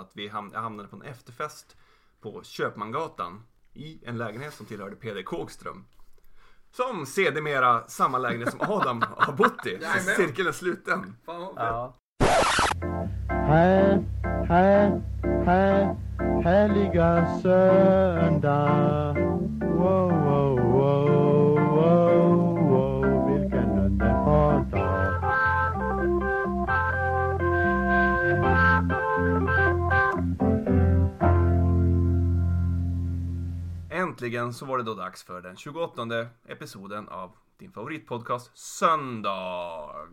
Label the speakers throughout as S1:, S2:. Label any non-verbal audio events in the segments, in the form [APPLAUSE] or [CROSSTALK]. S1: att vi ham- jag hamnade på en efterfest på Köpmangatan i en lägenhet som tillhörde Peder Kågström. Som sedermera samma lägenhet som Adam har bott i. Så
S2: Jajamän.
S1: cirkeln är sluten.
S2: Fan vad fett.
S3: Ja.
S4: Här, här, här, härliga söndag. Wow, wow, wow, wow, wow, vilken underbar dag.
S1: Äntligen så var det då dags för den 28 episoden av din favoritpodcast Söndag.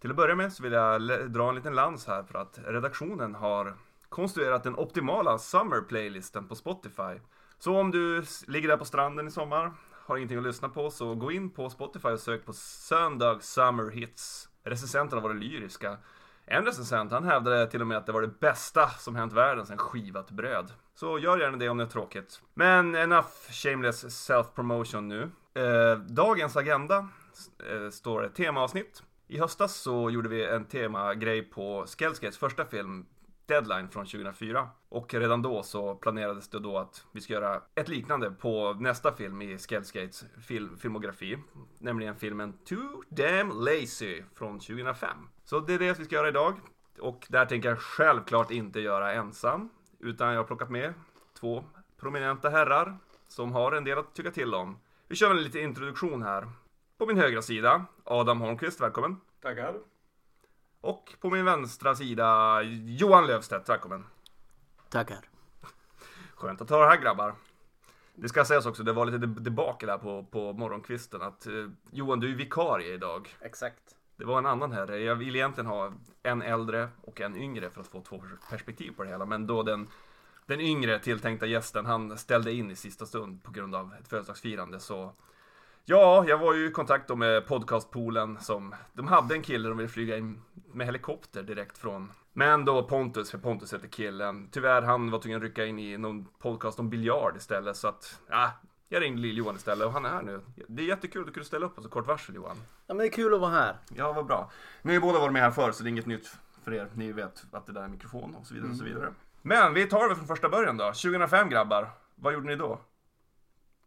S1: Till att börja med så vill jag le- dra en liten lans här för att redaktionen har konstruerat den optimala summer playlisten på Spotify. Så om du s- ligger där på stranden i sommar, har ingenting att lyssna på, så gå in på Spotify och sök på Söndag Summer Hits. Recensenterna var lyriska. En recensent han hävdade till och med att det var det bästa som hänt världen sedan skivat bröd. Så gör gärna det om det är tråkigt. Men enough shameless self-promotion nu. Eh, dagens agenda eh, står ett temaavsnitt. I höstas så gjorde vi en temagrej på Skelskets första film Deadline från 2004. Och redan då så planerades det då att vi ska göra ett liknande på nästa film i Skelskates film, filmografi. Nämligen filmen Too Damn Lazy från 2005. Så det är det vi ska göra idag. Och där tänker jag självklart inte göra ensam. Utan jag har plockat med två prominenta herrar som har en del att tycka till om. Vi kör en liten introduktion här. På min högra sida, Adam Holmqvist, välkommen.
S2: Tackar.
S1: Och på min vänstra sida, Johan Löfstedt, välkommen.
S3: Tackar.
S1: Skönt att ha det här grabbar. Det ska sägas också, det var lite deb- debacle där på, på morgonkvisten att eh, Johan, du är vikarie idag.
S3: Exakt.
S1: Det var en annan herre. Jag vill egentligen ha en äldre och en yngre för att få två perspektiv på det hela, men då den den yngre tilltänkta gästen, han ställde in i sista stund på grund av ett födelsedagsfirande, så Ja, jag var ju i kontakt då med podcastpoolen som De hade en kille de ville flyga in med helikopter direkt från Men då Pontus, för Pontus heter killen Tyvärr, han var tvungen att rycka in i någon podcast om biljard istället så att ja, Jag ringde Lill-Johan istället och han är här nu Det är jättekul att du kunde ställa upp på så kort varsel Johan
S3: Ja, men det är kul att vara här.
S1: Ja, vad bra. Nu har ju båda varit med här förr, så det är inget nytt för er. Ni vet att det där är mikrofon och så vidare och så vidare. Mm. Men vi tar det från första början då. 2005 grabbar, vad gjorde ni då?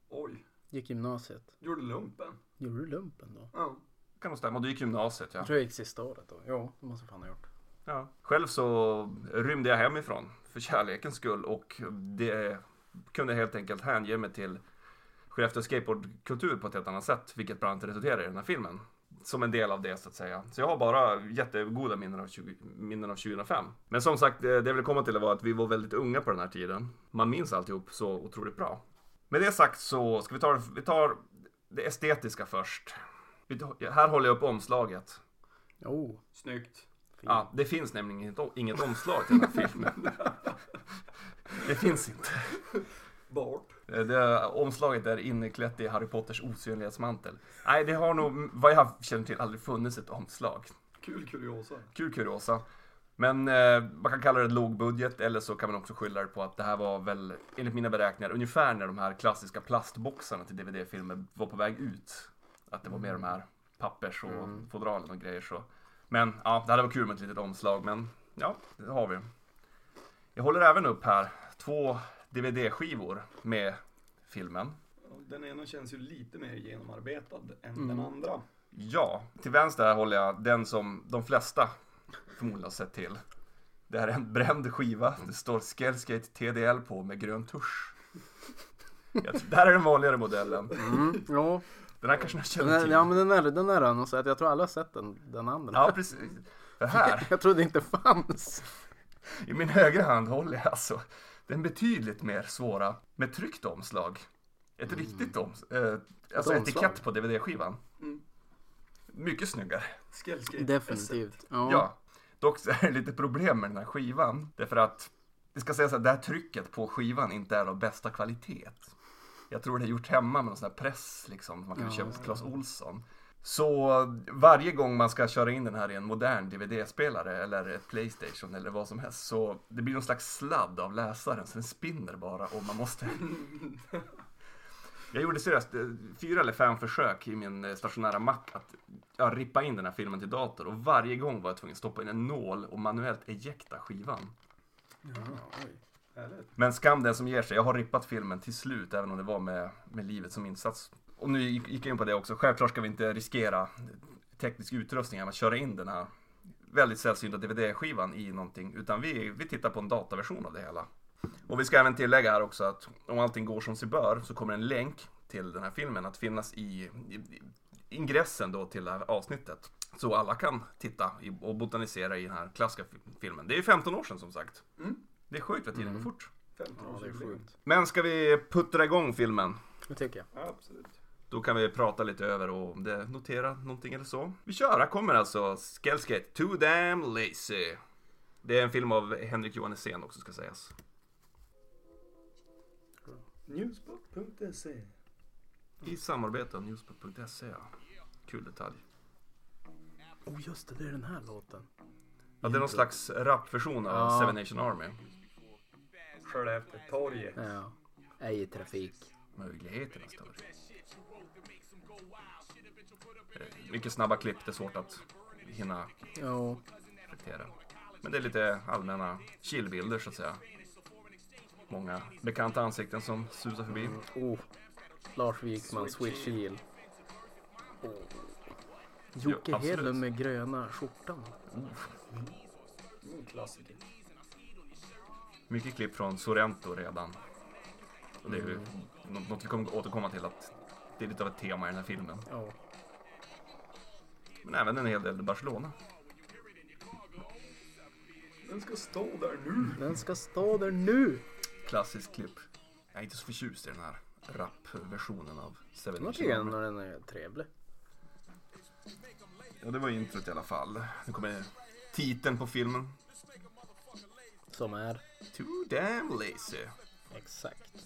S2: Oj.
S3: Gick gymnasiet.
S2: Gjorde lumpen.
S3: Gjorde du lumpen då?
S2: Ja.
S1: Kan nog stämma, du gick gymnasiet ja.
S3: Jag tror jag gick sista året då. Ja, det måste jag fan ha gjort.
S1: ja. Själv så rymde jag hemifrån för kärlekens skull och det kunde helt enkelt hänge mig till Skellefteå skateboardkultur på ett helt annat sätt, vilket bland annat resulterade i den här filmen. Som en del av det så att säga. Så jag har bara jättegoda minnen av, 20, minnen av 2005. Men som sagt, eh, det jag ville komma till var att vi var väldigt unga på den här tiden. Man minns alltihop så otroligt bra. Med det sagt så ska vi ta vi tar det estetiska först. Vi tar, här håller jag upp omslaget.
S3: Oh,
S2: Snyggt.
S1: Ja, det finns nämligen inget, inget omslag till den här
S2: [LAUGHS]
S1: filmen. Det finns inte.
S2: Bart.
S1: Eh, Det, omslaget är inneklätt i Harry Potters osynlighetsmantel. Nej, det har nog, vad jag känner till, aldrig funnits ett omslag.
S2: Kul kuriosa.
S1: Kul kuriosa. Men eh, man kan kalla det lågbudget eller så kan man också skylla det på att det här var väl, enligt mina beräkningar, ungefär när de här klassiska plastboxarna till DVD-filmer var på väg ut. Att det var mer de här pappers och
S3: Mm.
S1: fodralen och grejer så. Men ja, det hade varit kul med ett litet omslag, men ja, det har vi. Jag håller även upp här två DVD-skivor med filmen.
S2: Ja, Den ena känns ju lite mer genomarbetad än
S3: Mm.
S2: den andra.
S1: Ja, till vänster här håller jag den som de flesta förmodligen har sett till. Det här är en bränd skiva. Det står Skellskate TDL på med grön tusch.
S3: [LAUGHS]
S1: Jag tror- Det här är den vanligare modellen.
S3: mm, ja.
S1: Den här kanske ni
S3: Den
S1: känner
S3: är, ja,
S1: till.
S3: men den är, den är nog så att jag tror alla har sett den, den andra.
S1: Ja, precis. Det här,
S3: Jag trodde inte fanns.
S1: i min högra hand håller jag alltså den betydligt mer svåra med tryckt omslag. Ett riktigt omslag. Eh, alltså
S3: omslag.
S1: etikett på DVD-skivan.
S2: Mm.
S1: Mycket snyggare.
S2: Skellskate.
S3: Definitivt. Ja.
S1: Ja, dock så är det lite problem med den här skivan. Därför att det ska sägas att det här trycket på skivan inte är av bästa kvalitet. Jag tror det är gjort hemma med någon sån här press liksom, som man kan
S3: Ja,
S1: köpa
S3: ja.
S1: på Clas Ohlson. Så varje gång man ska köra in den här i en modern DVD-spelare eller ett Playstation eller vad som helst så det blir någon slags sladd av läsaren så den spinner bara och man måste... Jag gjorde seriöst eh, fyra eller fem försök i min eh, stationära Mac att ja, rippa in den här filmen till dator och varje gång var jag tvungen att stoppa in en nål och manuellt ejekta skivan.
S2: oj. Härligt.
S1: Men skam den som ger sig. Jag har rippat filmen till slut, även om det var med, med livet som insats. Och nu gick gick jag in på det också. Självklart ska vi inte riskera teknisk utrustning genom att köra in den här väldigt sällsynta DVD-skivan i någonting, utan vi, vi tittar på en dataversion av det hela. Och vi ska även tillägga här också att om allting går som sig bör så kommer en länk till den här filmen att finnas i, i i ingressen då till det här avsnittet. Så alla kan titta i, och botanisera i den här klassiska fi- filmen. Det är ju 15 år sedan som sagt.
S2: Mm.
S1: Det är sjukt vad tiden går fort.
S2: 15
S3: Ja,
S2: års
S3: det är sjukt.
S1: Men ska vi puttra igång filmen?
S3: Det tycker jag.
S2: Ja, absolut.
S1: Då kan vi prata lite över och om det notera någonting eller så. Vi kör, här kommer alltså Skellskate Too Damn Lazy. Det är en film av Henrik Johannesen också ska sägas.
S2: Newspot.se
S1: I samarbete med newspot.se. ja. Kul detalj.
S3: Oh just det, det är den här låten.
S1: Ja, det är någon slags rapversion av
S3: Ja.
S1: Seven Nation Army.
S2: Skellefteå-torget.
S3: Ja. Ej i trafik.
S1: Möjligheterna större. Eh, Mycket snabba klipp, det är svårt att hinna
S3: Jo.
S1: reflektera. Men det är lite allmänna chillbilder så att säga. Många bekanta ansikten som susar förbi.
S3: Oh. Lars Wikman,
S2: Switch
S3: Switch Heel. Oh.
S1: Jo,
S3: Jocke
S1: absolut.
S3: Hedlund med gröna skjortan.
S2: Mm, klassiker.
S1: Mycket klipp från Sorrento redan. Och det är
S3: Mm.
S1: ju nå- något vi kommer återkomma till att det är lite av ett tema i den här filmen.
S3: Ja.
S1: Men även en hel del Barcelona.
S2: Den ska stå där nu.
S3: Den ska stå där nu!
S1: Klassiskt klipp. Jag är inte så förtjust i den här rapversionen av Seven
S3: Jag
S1: Nation
S3: tycker
S1: Army.
S3: ändå den är trevlig.
S1: Ja, det var introt i alla fall. Nu kommer titeln på filmen.
S3: Som är
S1: Too damn lazy.
S3: exakt.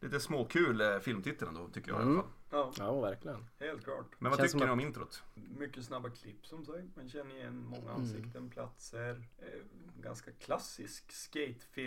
S1: Lite småkul eh, filmtitel ändå tycker jag i alla
S3: Mm.
S1: fall.
S2: Ja,
S3: Ja, verkligen.
S2: helt klart.
S1: Men vad
S3: Känns
S1: tycker ni
S3: som
S1: om introt?
S2: Mycket snabba klipp som sagt. Man känner igen
S3: Mm.
S2: många ansikten, platser. Eh, ganska klassisk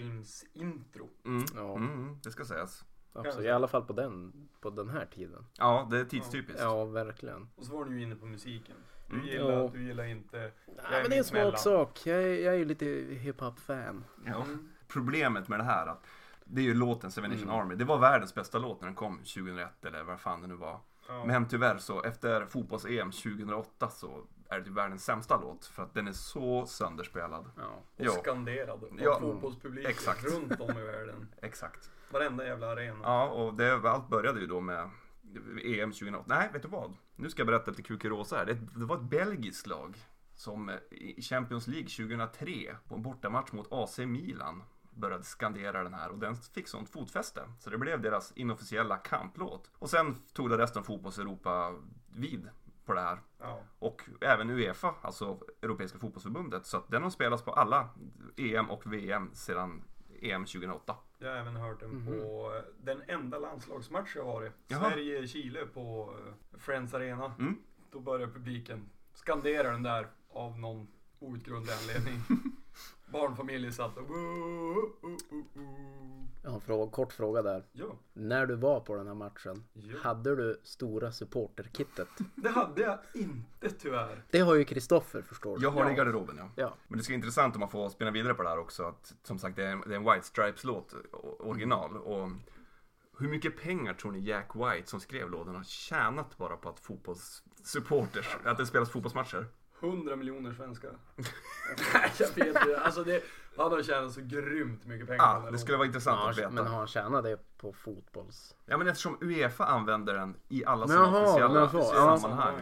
S2: skatefilms-intro.
S1: Mm.
S3: Ja.
S1: Mm, det ska sägas.
S3: Absolut. I alla fall på den, på den här tiden.
S1: Ja, det är tidstypiskt.
S3: Ja, verkligen.
S2: Och så var du ju inne på musiken. Du
S1: Mm.
S2: gillar,
S3: Ja.
S2: du gillar inte...
S3: Nej, men det är en smaksak. Jag, är- jag är ju lite hiphop-fan.
S1: Ja.
S3: Mm.
S1: Problemet med det här att det är ju låten Seven Nation Army. Det var världens bästa låt när den kom 2001 eller vad fan det nu var.
S2: Ja.
S1: Men tyvärr så efter fotbolls-EM 2008 så är det typ världens sämsta låt för att den är så sönderspelad.
S3: Ja.
S2: Och
S1: Ja,
S2: skanderad av
S1: Ja,
S2: fotbollspubliken
S1: exakt.
S2: runt om i världen.
S1: exakt.
S2: Varenda jävla arena.
S1: Ja, och det, allt började ju då med EM 2008. Nej, vet du vad? Nu ska jag berätta lite kukurosa här. Det, det var ett belgiskt lag som eh, i Champions League 2003 på en bortamatch mot AC Milan började skandera den här och den fick sånt fotfäste. Så det blev deras inofficiella kamplåt. Och sen tog det resten av fotbolls-Europa vid på det här.
S2: Ja.
S1: Och även Uefa, alltså Europeiska fotbollsförbundet. Så att den har spelats på alla EM och VM sedan E EM 2008.
S2: Jag har även hört den på eh, den enda landslagsmatch jag varit.
S1: Jaha.
S2: Sverige-Chile på eh, Friends Arena.
S1: Mm.
S2: Då börjar publiken skandera den där av någon outgrundlig anledning. Barnfamiljer satt och...
S3: Jag har en fråga, kort fråga där.
S2: Ja,
S3: När du var på den här matchen,
S2: Ja.
S3: hade du stora supporterkittet?
S2: det hade jag inte tyvärr.
S3: Det har ju Kristoffer förstår du.
S1: Jag har det i garderoben ja.
S3: Ja.
S1: Men det ska vara intressant om man får spinna vidare på det här också. Att, som sagt, det är en, det är en White Stripes-låt, o- original. Och hur mycket pengar tror ni Jack White, som skrev låten, har tjänat bara på att fotbollssupporters, att det spelas fotbollsmatcher?
S2: 100 miljoner svenskar. jag vet inte. Alltså det, han har tjänat så grymt mycket pengar.
S1: Ah,
S2: på den
S1: det skulle vara intressant
S3: Ja,
S1: att veta.
S3: men har han tjänat det på fotbolls...
S1: Ja, men eftersom Uefa använder den i alla sina
S3: Jaha,
S1: officiella
S3: men så, ja.
S1: sammanhang.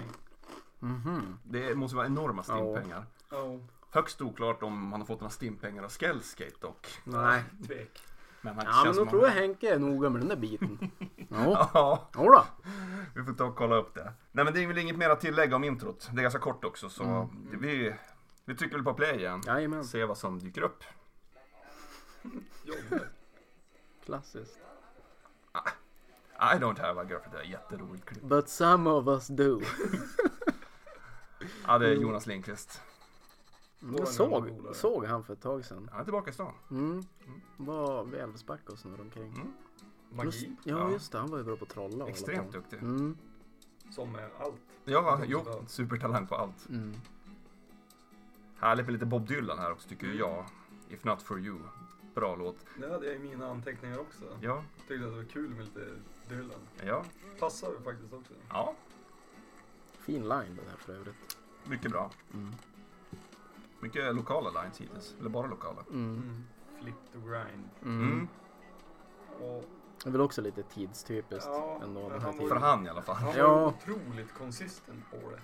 S1: Det måste vara enorma stimpengar.
S2: Ja,
S1: Högst oklart om han har fått några stimpengar av Skellskate dock.
S3: Nej.
S2: tvek.
S1: Men han
S3: Ja, men då
S1: som
S3: tror jag
S1: han-
S3: Henke är noga med den där [LAUGHS] biten. Ja,
S1: Ja.
S3: jodå.
S1: Vi får ta och kolla upp det. Nej men det är väl inget mer att tillägga om introt. Det är ganska kort också så
S3: Mm.
S1: vi, vi trycker väl på play igen.
S3: Jajamän.
S1: Se vad som dyker upp.
S2: Jobbet.
S3: Klassiskt.
S1: I don't have a girlfriend. Det är ett jätteroligt klipp.
S3: But some of us do.
S1: Ja det
S3: Mm.
S1: är Jonas Lindqvist.
S3: Jag såg, såg han för ett tag sedan.
S1: Han är tillbaka i stan.
S3: Mm. Var vid Älvsbacka och snurrade omkring. Just,
S2: Magi.
S3: ja,
S1: Ja.
S3: just det. Han var ju bra på att trolla. och hålla
S1: Extremt
S3: på.
S1: duktig.
S3: Mm.
S2: Som med allt.
S1: Ja, jo. Supertalang på allt.
S3: Mm.
S1: Härligt med lite Bob Dylan här också tycker jag. If not for you. bra låt.
S2: Det hade jag i mina anteckningar också.
S1: Ja,
S2: Tyckte att det var kul med lite Dylan.
S1: ja,
S2: Passar ju faktiskt också.
S3: Mm.
S1: ja,
S3: Fin line den här för övrigt.
S1: mycket bra.
S3: Mm.
S1: Mycket lokala lines hittills, eller bara lokala.
S3: Mm.
S2: Mm. Flip to grind.
S1: Mm.
S2: Och,
S3: Det är väl också lite tidstypiskt
S2: Ja,
S3: ändå.
S2: men
S3: Den här
S2: han var
S1: För
S3: tiden.
S1: han i alla fall.
S2: han var
S3: Ja.
S2: ju otroligt konsistent på det.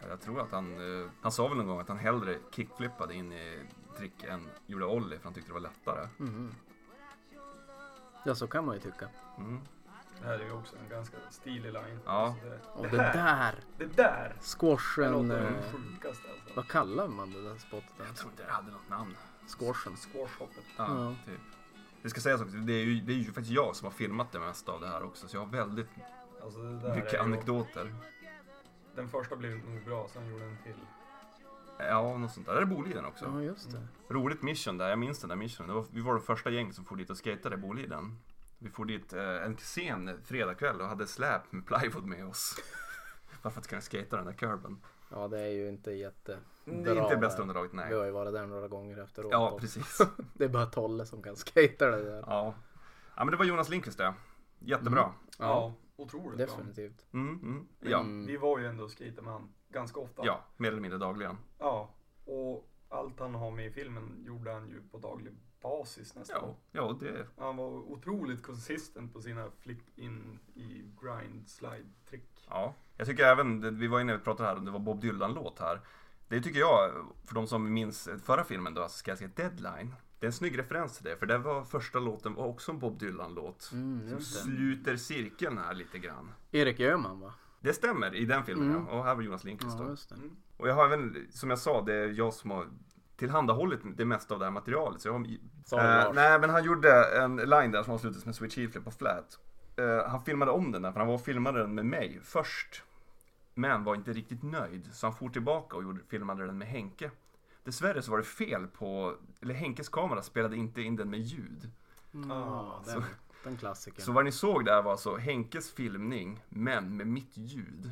S1: Ja, Jag tror att han, eh, han sa väl någon gång att han hellre kickflippade in i drick än gjorde ollie för han tyckte det var lättare.
S3: Mhm. Ja, så kan man ju tycka.
S1: Mm.
S2: Det här är ju också en ganska stilig line.
S1: Ja.
S2: Alltså det,
S3: Och
S2: det
S3: det
S2: här,
S3: där!
S2: det där! Det
S3: Squashen.
S2: låter
S3: eh,
S2: den sjukaste alltså.
S3: Vad kallar man det där spottet?
S1: Jag
S3: ens?
S1: tror inte det hade något namn.
S3: Squashen.
S2: Squashhoppet.
S1: Ja,
S3: Ja.
S1: Typ. Det ska sägas också, det är, ju, det är ju faktiskt jag som har filmat det mesta av det här också så jag har väldigt
S2: Alltså det där
S1: mycket
S2: är ju-
S1: anekdoter.
S2: Den första blev nog bra, sen gjorde en till.
S1: Ja, något sånt där. Det är Boliden också. Mm.
S3: Ja, just
S2: Mm.
S3: det.
S1: Roligt mission där, jag minns den där missionen. Det var, vi var det första gäng som for dit och skatade i Boliden. Vi for dit eh, en sen fredagkväll och hade släp med plywood med oss. [LAUGHS] Bara för att kunna skata den där curben.
S3: Ja, det är ju inte jätte...
S1: Det är inte
S3: där.
S1: bästa underlaget, nej.
S3: Vi har ju varit där några gånger efteråt.
S1: Ja,
S3: och
S1: precis.
S3: det är bara Tolle som kan [LAUGHS] skata det där.
S1: Ja. ja, men det var Jonas Lindqvist det. Jättebra.
S2: Ja, otroligt bra.
S3: definitivt.
S1: Mm, mm. Ja.
S3: Mm.
S2: Vi var ju ändå och skejtade med han ganska ofta.
S1: ja, mer eller mindre dagligen.
S2: Ja, och allt han har med i filmen gjorde han ju på daglig basis nästan.
S1: Ja, ja det...
S2: Han var otroligt konsistent på sina flick in i grind slide trick.
S1: Ja. Jag tycker även, det- vi var inne och pratade här om det var Bob Dylan-låt här. Det tycker jag, för de som minns förra filmen då, alltså ska jag säga Deadline. Det är en snygg referens till det, för det var första låten var också en Bob Dylan-låt.
S3: Mm,
S1: Som
S3: just det.
S1: sluter cirkeln här lite grann.
S3: Erik Öhman va?
S1: Det stämmer i den filmen
S3: Mm.
S1: ja. Och här var Jonas Lindqvist
S3: Ja,
S1: då.
S3: just det.
S2: Mm.
S1: Och jag har även, som jag sa, det är jag som har tillhandahållit det mesta av det här materialet. Så jag har
S3: Sa
S1: Eh,
S3: Lars.
S1: nej, men han gjorde en line där som avslutades med Switch Heel Flip på Flat. Eh, han filmade om den där, för han var och filmade den med mig först. Men var inte riktigt nöjd, så han for tillbaka och gjorde, filmade den med Henke. Dessvärre så var det fel på, eller Henkes kamera spelade inte in den med ljud.
S3: Mm. Ja, den, den klassikern.
S1: Så vad ni såg där var alltså Henkes filmning, men med mitt ljud.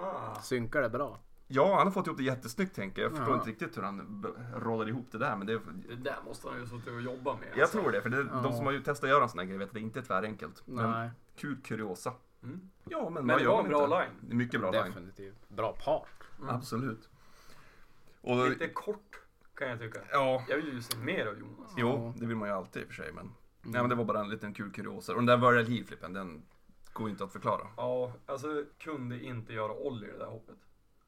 S2: Ah,
S3: Synkar det bra?
S1: Ja, han har fått ihop det jättesnyggt Henke. Jag förstår
S3: Ja.
S1: inte riktigt hur han b- rollade ihop det där, men det...
S2: det där måste han ju suttit och jobba med. alltså.
S1: Jag tror det, för det,
S3: Ja.
S1: de som har ju testat att göra en sån här grej vet att det inte är tvärenkelt. Men
S3: Nej,
S1: kul kuriosa.
S2: Mm.
S1: Ja, men,
S2: Men
S1: vad
S2: det
S1: gör
S2: var
S1: man
S2: en bra
S1: inte?
S2: line.
S1: Det är Mycket bra line.
S3: definitivt. Bra part.
S2: Mm.
S1: Absolut. Och,
S2: Lite kort kan jag tycka.
S1: ja,
S2: Jag vill ju se mer av Jonas.
S1: jo, det vill man ju alltid i och för sig. Men,
S3: Mm.
S1: nej, men det var bara en liten kul kuriosa. Och den där Viral Heelflippen, den går ju inte att förklara.
S2: Ja, alltså kunde inte göra Ollie det där hoppet.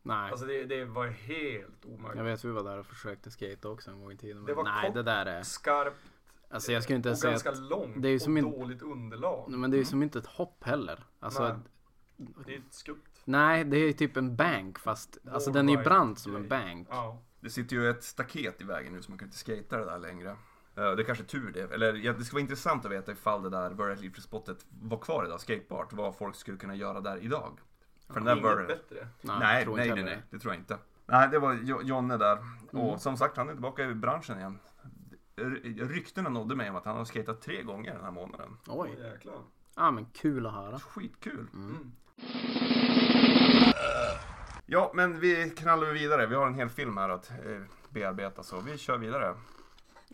S3: Nej,
S2: Alltså det, det var helt
S3: jag
S2: omöjligt.
S3: vet vi var där och försökte skate också en gång i tiden.
S2: Det
S3: Men
S2: var
S3: nej,
S2: kort.
S3: det där är...
S2: Skarpt
S3: Alltså jag skulle inte
S2: och
S3: säga
S2: ganska
S3: att...
S2: långt
S3: det är ju som
S2: och
S3: en-
S2: dåligt underlag.
S3: Men det är ju som inte ett hopp heller. Alltså,
S2: Nej.
S3: nej.
S2: Det är ett skumt.
S3: det är ju typ en bank fast... Alltså
S2: Wall
S3: den är ju
S2: ride
S3: brant som en
S2: grej.
S3: bank.
S2: Ja.
S1: Det sitter ju ett staket i vägen nu så man kan inte skata det där längre. Eh, Det är kanske tur det. Eller ja, det skulle vara intressant att veta ifall det där Viral Heelflip-spottet var kvar idag, skatebart. Vad folk skulle kunna göra där idag. För den där
S2: Inget
S1: Viral
S2: bättre.
S3: Nej, jag
S1: Nej,
S3: tror
S1: nej,
S3: inte
S1: nej, nej,
S3: heller Mm.
S1: det tror jag inte. Nej, det var Jo- Jonne där. Och som sagt, han är tillbaka i branschen igen. R- Ryktena nådde mig om att han har skatat tre gånger den här månaden.
S3: det. Oj.
S2: Åh, jäklar.
S3: Ja men kul att höra.
S1: Skitkul!
S2: Mm.
S1: Ja, men vi knallar vidare. Vi har en hel film här att eh, bearbeta, så vi kör vidare.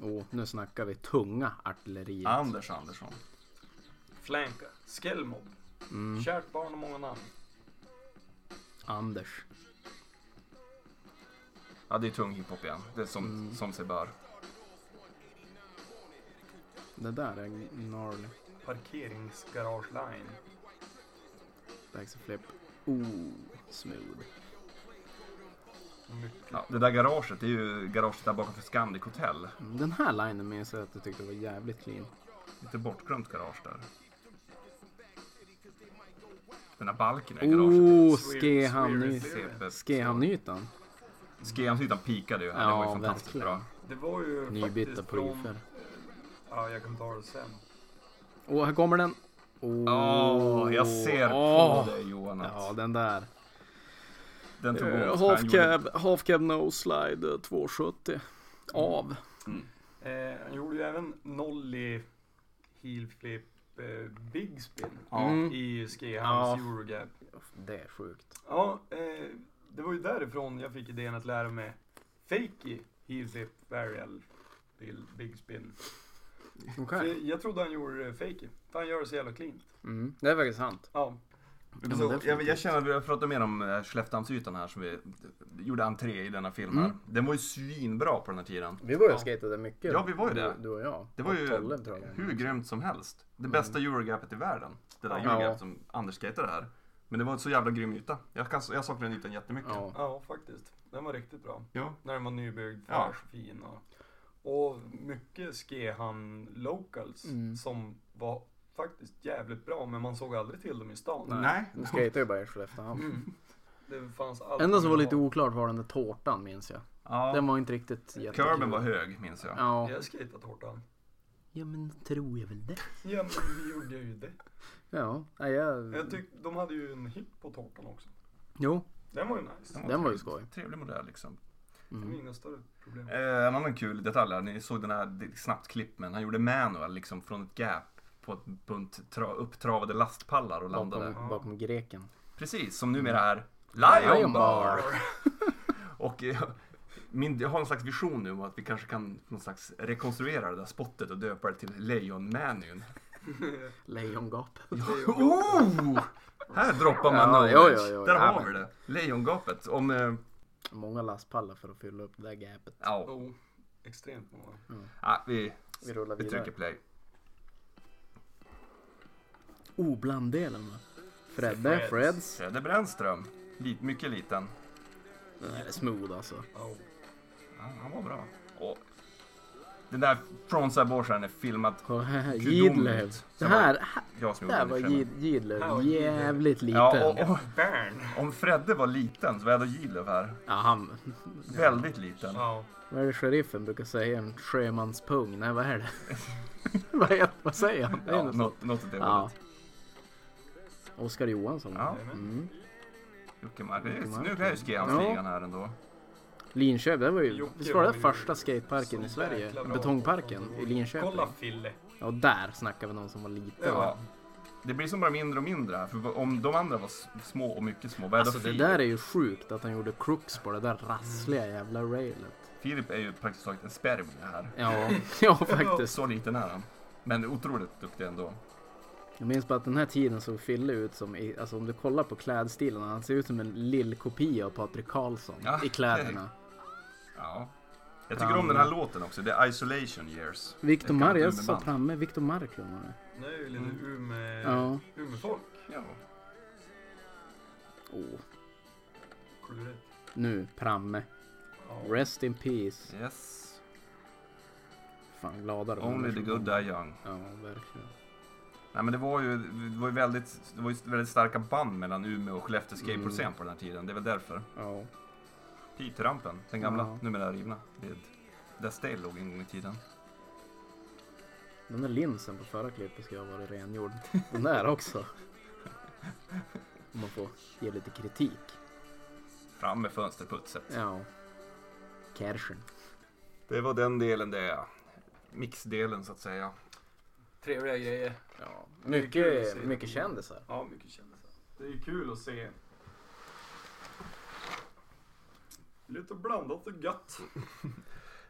S3: Oh, nu snackar vi tunga artilleriet.
S1: Anders Andersson.
S2: Flanka, Skelmob,
S3: Mm.
S2: Kärt barn och många namn.
S3: Anders.
S1: Ja, det är tung hiphop igen. Det är som,
S3: Mm.
S1: som sig bör.
S3: Det där är gnarly.
S2: Parkeringsgarage line.
S3: Backflip. Oh, smooth.
S2: Mycket.
S1: Ja, det där garaget, det är ju garaget där bakom för Scandic Hotel.
S3: Mm, Den här linen minns jag att jag tyckte var jävligt clean.
S1: Lite bortglömt garage där. Den här balken i garaget.
S3: Oh,
S2: Swear-
S3: Skeham-
S2: swear-
S1: CP.
S3: Skehamnytan.
S1: Skehamsytan pikade ju här, det var ju
S3: Ja,
S1: fantastiskt
S3: verkligen.
S1: bra.
S2: Det var ju
S3: Nybytta
S2: faktiskt
S3: på
S2: från...
S3: Yfer.
S2: Ja, jag kan ta det sen.
S3: Och här kommer den.
S1: Åh, jag ser
S3: Åh.
S1: på dig Johan att
S3: Ja, den där.
S1: den tog åt. Han
S3: Eh, Half
S1: gjorde-
S3: cab, half cab no slide eh, 270. Av.
S2: Eh, han gjorde ju även nollie, heel flip, eh, big spin
S1: Ja.
S3: Mm.
S2: i Skehams
S3: Ja.
S2: Eurogap.
S3: Det är sjukt.
S2: Ja, eh, det var ju därifrån jag fick idén att lära mig fakey heel flip varial Bill Big Spin. För
S3: Okej.
S2: jag trodde han gjorde det fake. För han gör det så jävla cleant.
S3: Mm. Det är faktiskt sant.
S2: Ja,
S3: men
S1: Så,
S3: definitivt.
S1: jag, jag känner att vi har pratat mer om eh, Skelleftehamnsytan här som vi eh, gjorde entré i denna film här.
S3: Mm.
S1: Den var ju svinbra på den här tiden.
S3: Vi var ju
S2: Ja.
S3: och skatade mycket.
S1: Ja, vi var ju
S3: du,
S1: det.
S3: Du och jag.
S1: Det var ju
S3: Och Tolle, tror jag. Mm.
S1: hur grymt som helst. Det bästa Eurogapet i världen. Det där
S2: Ja.
S1: Eurogapet som Anders skejtade här. Men det var en så jävla grym yta. Jag, kan, jag saknar den ytan jättemycket.
S3: Ja.
S2: ja faktiskt. Den var riktigt bra.
S1: Ja.
S2: När den var nybyggd,
S1: Ja.
S2: fräsch, fin och, och mycket Skehan locals
S3: Mm.
S2: som var faktiskt jävligt bra men man såg aldrig till dem i stan.
S1: Nej.
S3: Vi skejtade ju bara i Skelleftehamn.
S2: Mm. Det fanns allt.
S3: Enda som var lite
S2: o...
S3: oklart var den där tårtan minns jag.
S1: Ja.
S3: Den var inte riktigt jättekul.
S1: Curben var hög minns jag.
S3: Ja.
S2: Jag skejtade tårtan.
S3: Ja men tror jag väl det.
S2: Ja men vi gjorde ju det.
S3: Ja. Nej, jag...
S2: Jag tyckte, de hade ju en hip på tårtan också.
S3: Jo.
S2: Den var ju nice.
S3: Den var ju
S1: trevlig-
S3: skoj.
S1: Trevlig modell liksom.
S2: Det var
S3: Mm.
S2: inga större problem.
S1: Eh, en annan kul detalj här, ni såg den här det- snabbt klipp men han gjorde manual liksom från ett gap på ett bunt tra, upptravade lastpallar och landade.
S3: Bakom, bakom greken.
S1: Precis, som numera är Lion
S3: Lion
S1: Bar.
S3: Bar.
S1: Och eh, min, jag har en slags vision nu om att vi kanske kan någon slags rekonstruera det där spottet och döpa det till Lejonmenyn.
S3: Lejongap.
S1: Oh! Här droppar man
S3: Ja,
S1: knowledge.
S3: jo, jo, jo,
S1: Där
S3: ja,
S1: har
S3: men-
S1: vi det. Lejongapet. Om, eh,
S3: Många lastpallar för att fylla upp det där gapet.
S1: ja,
S2: Jo, Oh, extremt många.
S1: ah, vi,
S3: Vi rullar
S1: vi trycker
S3: vidare.
S1: play.
S3: Oh, blanddelen va? Fredde, Freds.
S1: Söder Brännström. Lit, mycket liten.
S3: Den här är smooth alltså.
S2: Ja.
S1: Ja, han var bra. Och den där Frontside Borsan är filmat
S3: Gidlöv. Det här, här
S1: jag som
S3: det här
S1: gjorde
S3: var
S1: den i filmen.
S3: Gid- Gidlöv.
S2: Här var Gidlöv.
S3: Jävligt liten.
S1: Ja, och, och,
S2: Bern!
S1: om Fredde var liten så var jag då Gidlöv här.
S3: Ja, han,
S1: Väldigt liten.
S2: Ja.
S3: vad är det sheriffen brukar säga? En sjömanspung? Nej, vad är det? [LAUGHS] vad, heter, vad säger han? Det är
S1: Ja,
S3: något-
S1: något, något åt det
S3: Ja.
S1: hållet.
S3: Oskar Johansson.
S1: Ja.
S3: Mm.
S1: Jocke Mark. Det är
S3: Jocke Mark.
S1: Snygg höjdskrivningsligan här ändå.
S3: Linköping, det var ju,
S2: Jocke
S3: visst var det
S2: var ju
S3: första skateparken i
S2: så
S3: Sverige?
S2: jäkla bra.
S3: Betongparken i Linköping.
S2: Kolla Fille!
S3: Ja, där snackar vi någon som var liten.
S1: Ja. Det blir som bara mindre och mindre här. För om de andra var s- små och mycket små, vad är då
S3: Alltså det
S1: Filip?
S3: där är ju sjukt att han gjorde crooks på det där rassliga jävla railet.
S1: Filip är ju praktiskt taget en spermie här.
S3: [LAUGHS] Ja, ja faktiskt.
S1: Så liten är han. Men otroligt duktig ändå.
S3: Jag minns bara att den här tiden såg Fille ut som, i, alltså om du kollar på klädstilen, han ser ut som en lillkopia av Patrik Karlsson
S1: Ja.
S3: i kläderna.
S1: Ja. Jag tycker om den här låten också. Det är Isolation Years.
S3: Victor
S1: Ett gammalt
S3: Marjas sa
S1: Umeåband.
S3: framme, Victor Marklund var det.
S2: Nu är ju lite
S1: Mm.
S2: Ume...
S3: Ja.
S2: Umefolk.
S1: Ja.
S3: Åh,
S2: Klurigt.
S3: Oh, nu, pramme.
S2: Ja.
S3: Rest in peace.
S1: Yes.
S3: Fan, glada de
S1: Only
S3: är
S1: the
S3: som-
S1: good die young.
S3: Ja, verkligen.
S1: Nej men det var ju, det var ju, väldigt, det var ju väldigt starka band mellan Umeå och Skellefteå
S3: Mm.
S1: skateboardscen på den här tiden. Det är väl därför.
S3: Ja.
S1: Pitrampen, den gamla,
S3: Ja.
S1: numera rivna. Vid, där Stale låg en gång i tiden.
S3: Den där linsen på förra klippet ska ha varit rengjord. Den
S1: [LAUGHS]
S3: där också. Om man får ge lite kritik.
S1: Fram med fönsterputset.
S3: Ja. Kersen.
S1: Det var den delen det. Mixdelen så att säga.
S2: Trevliga grejer.
S3: Ja.
S2: kul att se.
S3: Mycket, mycket kändisar.
S2: Ja, mycket kändisar. Det är kul att se. Lite blandat och gött.
S1: Jag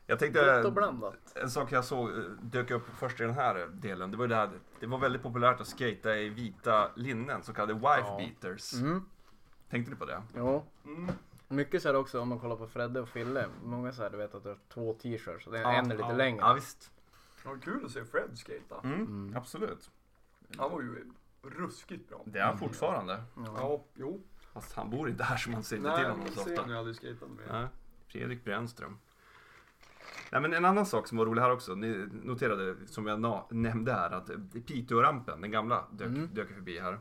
S3: Gott och
S1: tänkte,
S3: blandat.
S1: en sak jag såg eh, dök upp först i den här delen. Det var ju det här, det var väldigt populärt att skata i vita linnen, så kallade wife
S3: Ja.
S1: beaters.
S3: Mm.
S1: Tänkte du på det?
S3: Ja.
S2: Mm.
S3: Mycket så här också om man kollar på Fredde och Fille. Många så här, du vet att du har två t-shirts. och Den
S1: Ja,
S3: en är lite
S2: ja.
S3: längre.
S1: Ja visst.
S2: Det var kul att se Fred skata.
S1: Mm,
S3: Mm.
S1: Absolut.
S2: Han var ju ruskigt bra.
S1: Det är han fortfarande.
S3: Ja.
S2: Ja, jo.
S1: Mm. Fast han bor inte här så man ser inte
S2: Nej,
S1: till honom
S2: man
S1: så
S2: ser
S1: ofta.
S2: när jag hade skatat med.
S1: Nej, Fredrik Brännström. Nej, men en annan sak som var rolig här också. Ni noterade, som jag na- nämnde här, att Piteå-rampen, den gamla, dök,
S3: Mm.
S1: dök förbi här.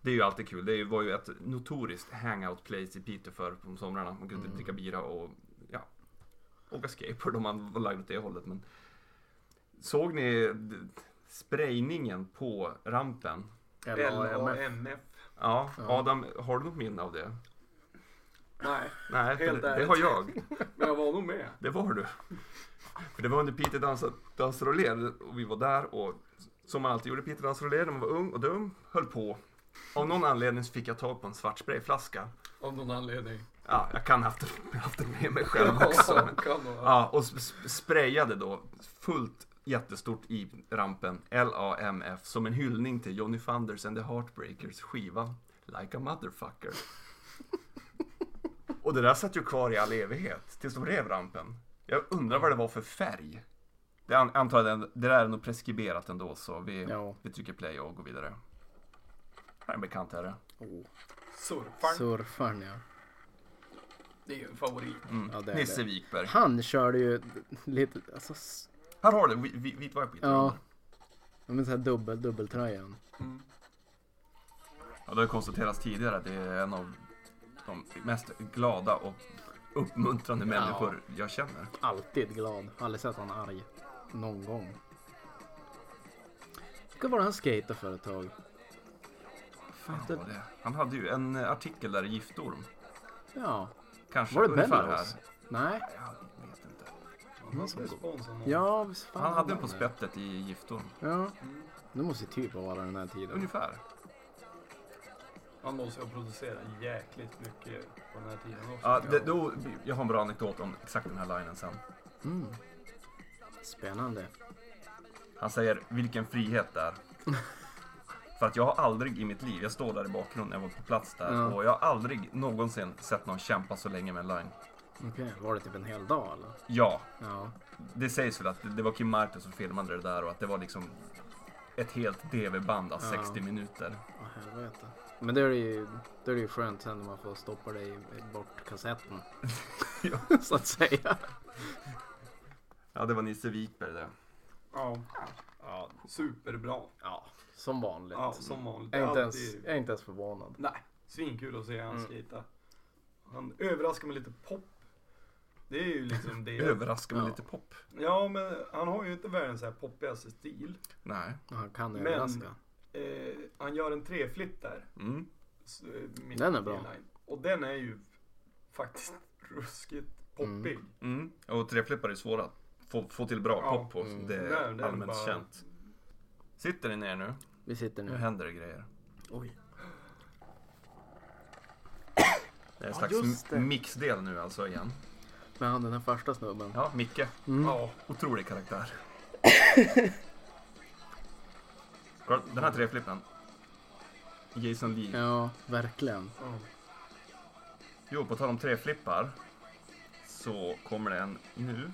S1: Det är ju alltid kul. Det är ju- var ju ett notoriskt hangout place i Piteå för på somrarna. Man kunde
S3: Mm.
S1: dricka bira och ja, åka skateboard om man var lagd åt det hållet. Men såg ni d- sprayningen på rampen?
S3: LAMF.
S2: LAMF.
S1: Ja,
S3: Ja.
S1: Adam, har du något minne av det?
S2: Nej,
S1: Nej, för
S2: Helt
S1: det, det
S2: ärligt.
S1: har jag.
S2: men jag var nog med.
S1: Det var du. För det var under Peter dansar, dansar och ler och vi var där och som man alltid gjorde Peter dansar och ler när man var ung och dum, höll på. Av någon anledning så fick jag tag på en svart sprayflaska
S2: Av någon [LAUGHS] anledning.
S1: Ja, jag kan ha haft, haft det med mig själv också.
S2: kan vara.
S1: Ja, och sp- sp- sprayade då fullt jättestort i rampen LAMF som en hyllning till Johnny Thunders and the Heartbreakers skiva Like a Motherfucker. och det där satt ju kvar i all evighet tills de rev rampen. Jag undrar vad det var för färg. Det an- antar jag, den- det där är nog preskriberat ändå så vi,
S3: Ja.
S1: vi trycker play och går vidare. Här är en bekant herre.
S3: Oh,
S2: Surfaren.
S3: surfaren ja.
S2: Det är ju en favorit.
S1: Mm.
S3: Ja, det är
S1: Nisse
S3: det.
S1: Wikberg.
S3: Han körde ju lite, alltså, s-
S1: Här har du vi- vi- vitvarg skit.
S3: ja. ja, men så här dubbel, dubbeltröjan.
S2: Mm.
S1: Ja, det har konstaterats tidigare att det är en av de mest glada och uppmuntrande
S3: Ja.
S1: människor jag känner.
S3: Alltid glad, aldrig sett han arg. Någon gång. Vilka var det han skejtade för ett tag?
S1: Fan vad det Han hade ju en eh, artikel där i Giftorm.
S3: Ja,
S1: Kanske
S3: Var det
S1: ungefär här.
S3: Mellos? nej.
S1: Nej, Jag vet inte.
S2: Han som respons av någon.
S3: Ja, visst fan
S1: Han hade den på
S3: det.
S1: spettet i Giftorm.
S3: Ja,
S2: Mm.
S3: det måste ju typ vara den här tiden.
S1: Ungefär.
S2: Han måste ju ha producerat jäkligt mycket på den här tiden också.
S1: Ja, det, då, jag har en bra anekdot om exakt den här linen sen.
S3: Mm. Spännande.
S1: Han säger vilken frihet
S3: [LAUGHS]
S1: det är. För att jag har aldrig i mitt liv, jag står där i bakgrunden, jag var på plats där
S3: Ja.
S1: och jag har aldrig någonsin sett någon kämpa så länge med en line.
S3: Okej, var det typ en hel dag eller?
S1: Ja,
S3: Ja.
S1: Det sägs väl att det var Kim Martin som filmade det där och att det var liksom ett helt DV-band av
S3: Ja.
S1: 60 minuter.
S3: Åh helvete. Men då är, det ju, då är det ju skönt sen när man får stoppa dig bort kassetten. [LAUGHS] Så att säga.
S1: Ja, det var Nisse Wikberg det.
S2: Ja.
S3: Ja,
S2: Superbra.
S3: ja som vanligt.
S2: Ja, som vanligt.
S3: jag, är inte ens,
S2: Alltid-
S3: jag är inte ens förvånad.
S2: Nej, svinkul att se han
S3: Mm.
S2: skejta. Han överraskar med lite pop. Det är ju
S3: [LAUGHS]
S2: liksom det.
S1: Överraskar med
S3: Ja.
S1: lite pop.
S2: ja, men han har ju inte världens så här poppigaste stil.
S1: Nej.
S3: Han kan
S2: Men-
S3: överraska.
S2: Eh, han gör en treflipp där.
S1: Mm.
S2: s- eh, mitt
S3: Den är
S2: i
S3: bra.
S2: line. Och den är ju faktiskt ruskigt poppig.
S1: Mm. Och treflippar är svåra att få, få till bra
S2: Ja.
S1: pop på.
S3: Mm.
S1: Det
S2: Nej,
S1: är
S2: det är
S1: allmänt
S2: bara-
S1: känt. Sitter ni ner nu?
S3: Vi sitter
S1: Nu
S3: nu.
S1: händer det grejer.
S3: Oj.
S1: Det är en
S3: Ja, just
S1: slags
S3: det.
S1: m- mixdel nu alltså igen.
S3: Men han den här första snubben.
S1: Ja, Micke.
S3: Mm.
S2: Ja,
S1: Otrolig
S3: [LAUGHS]
S1: karaktär. Kolla, Den här treflippen. Jason Lee.
S3: Ja, verkligen.
S2: ja.
S1: Jo, på tal om treflippar så kommer det en nu.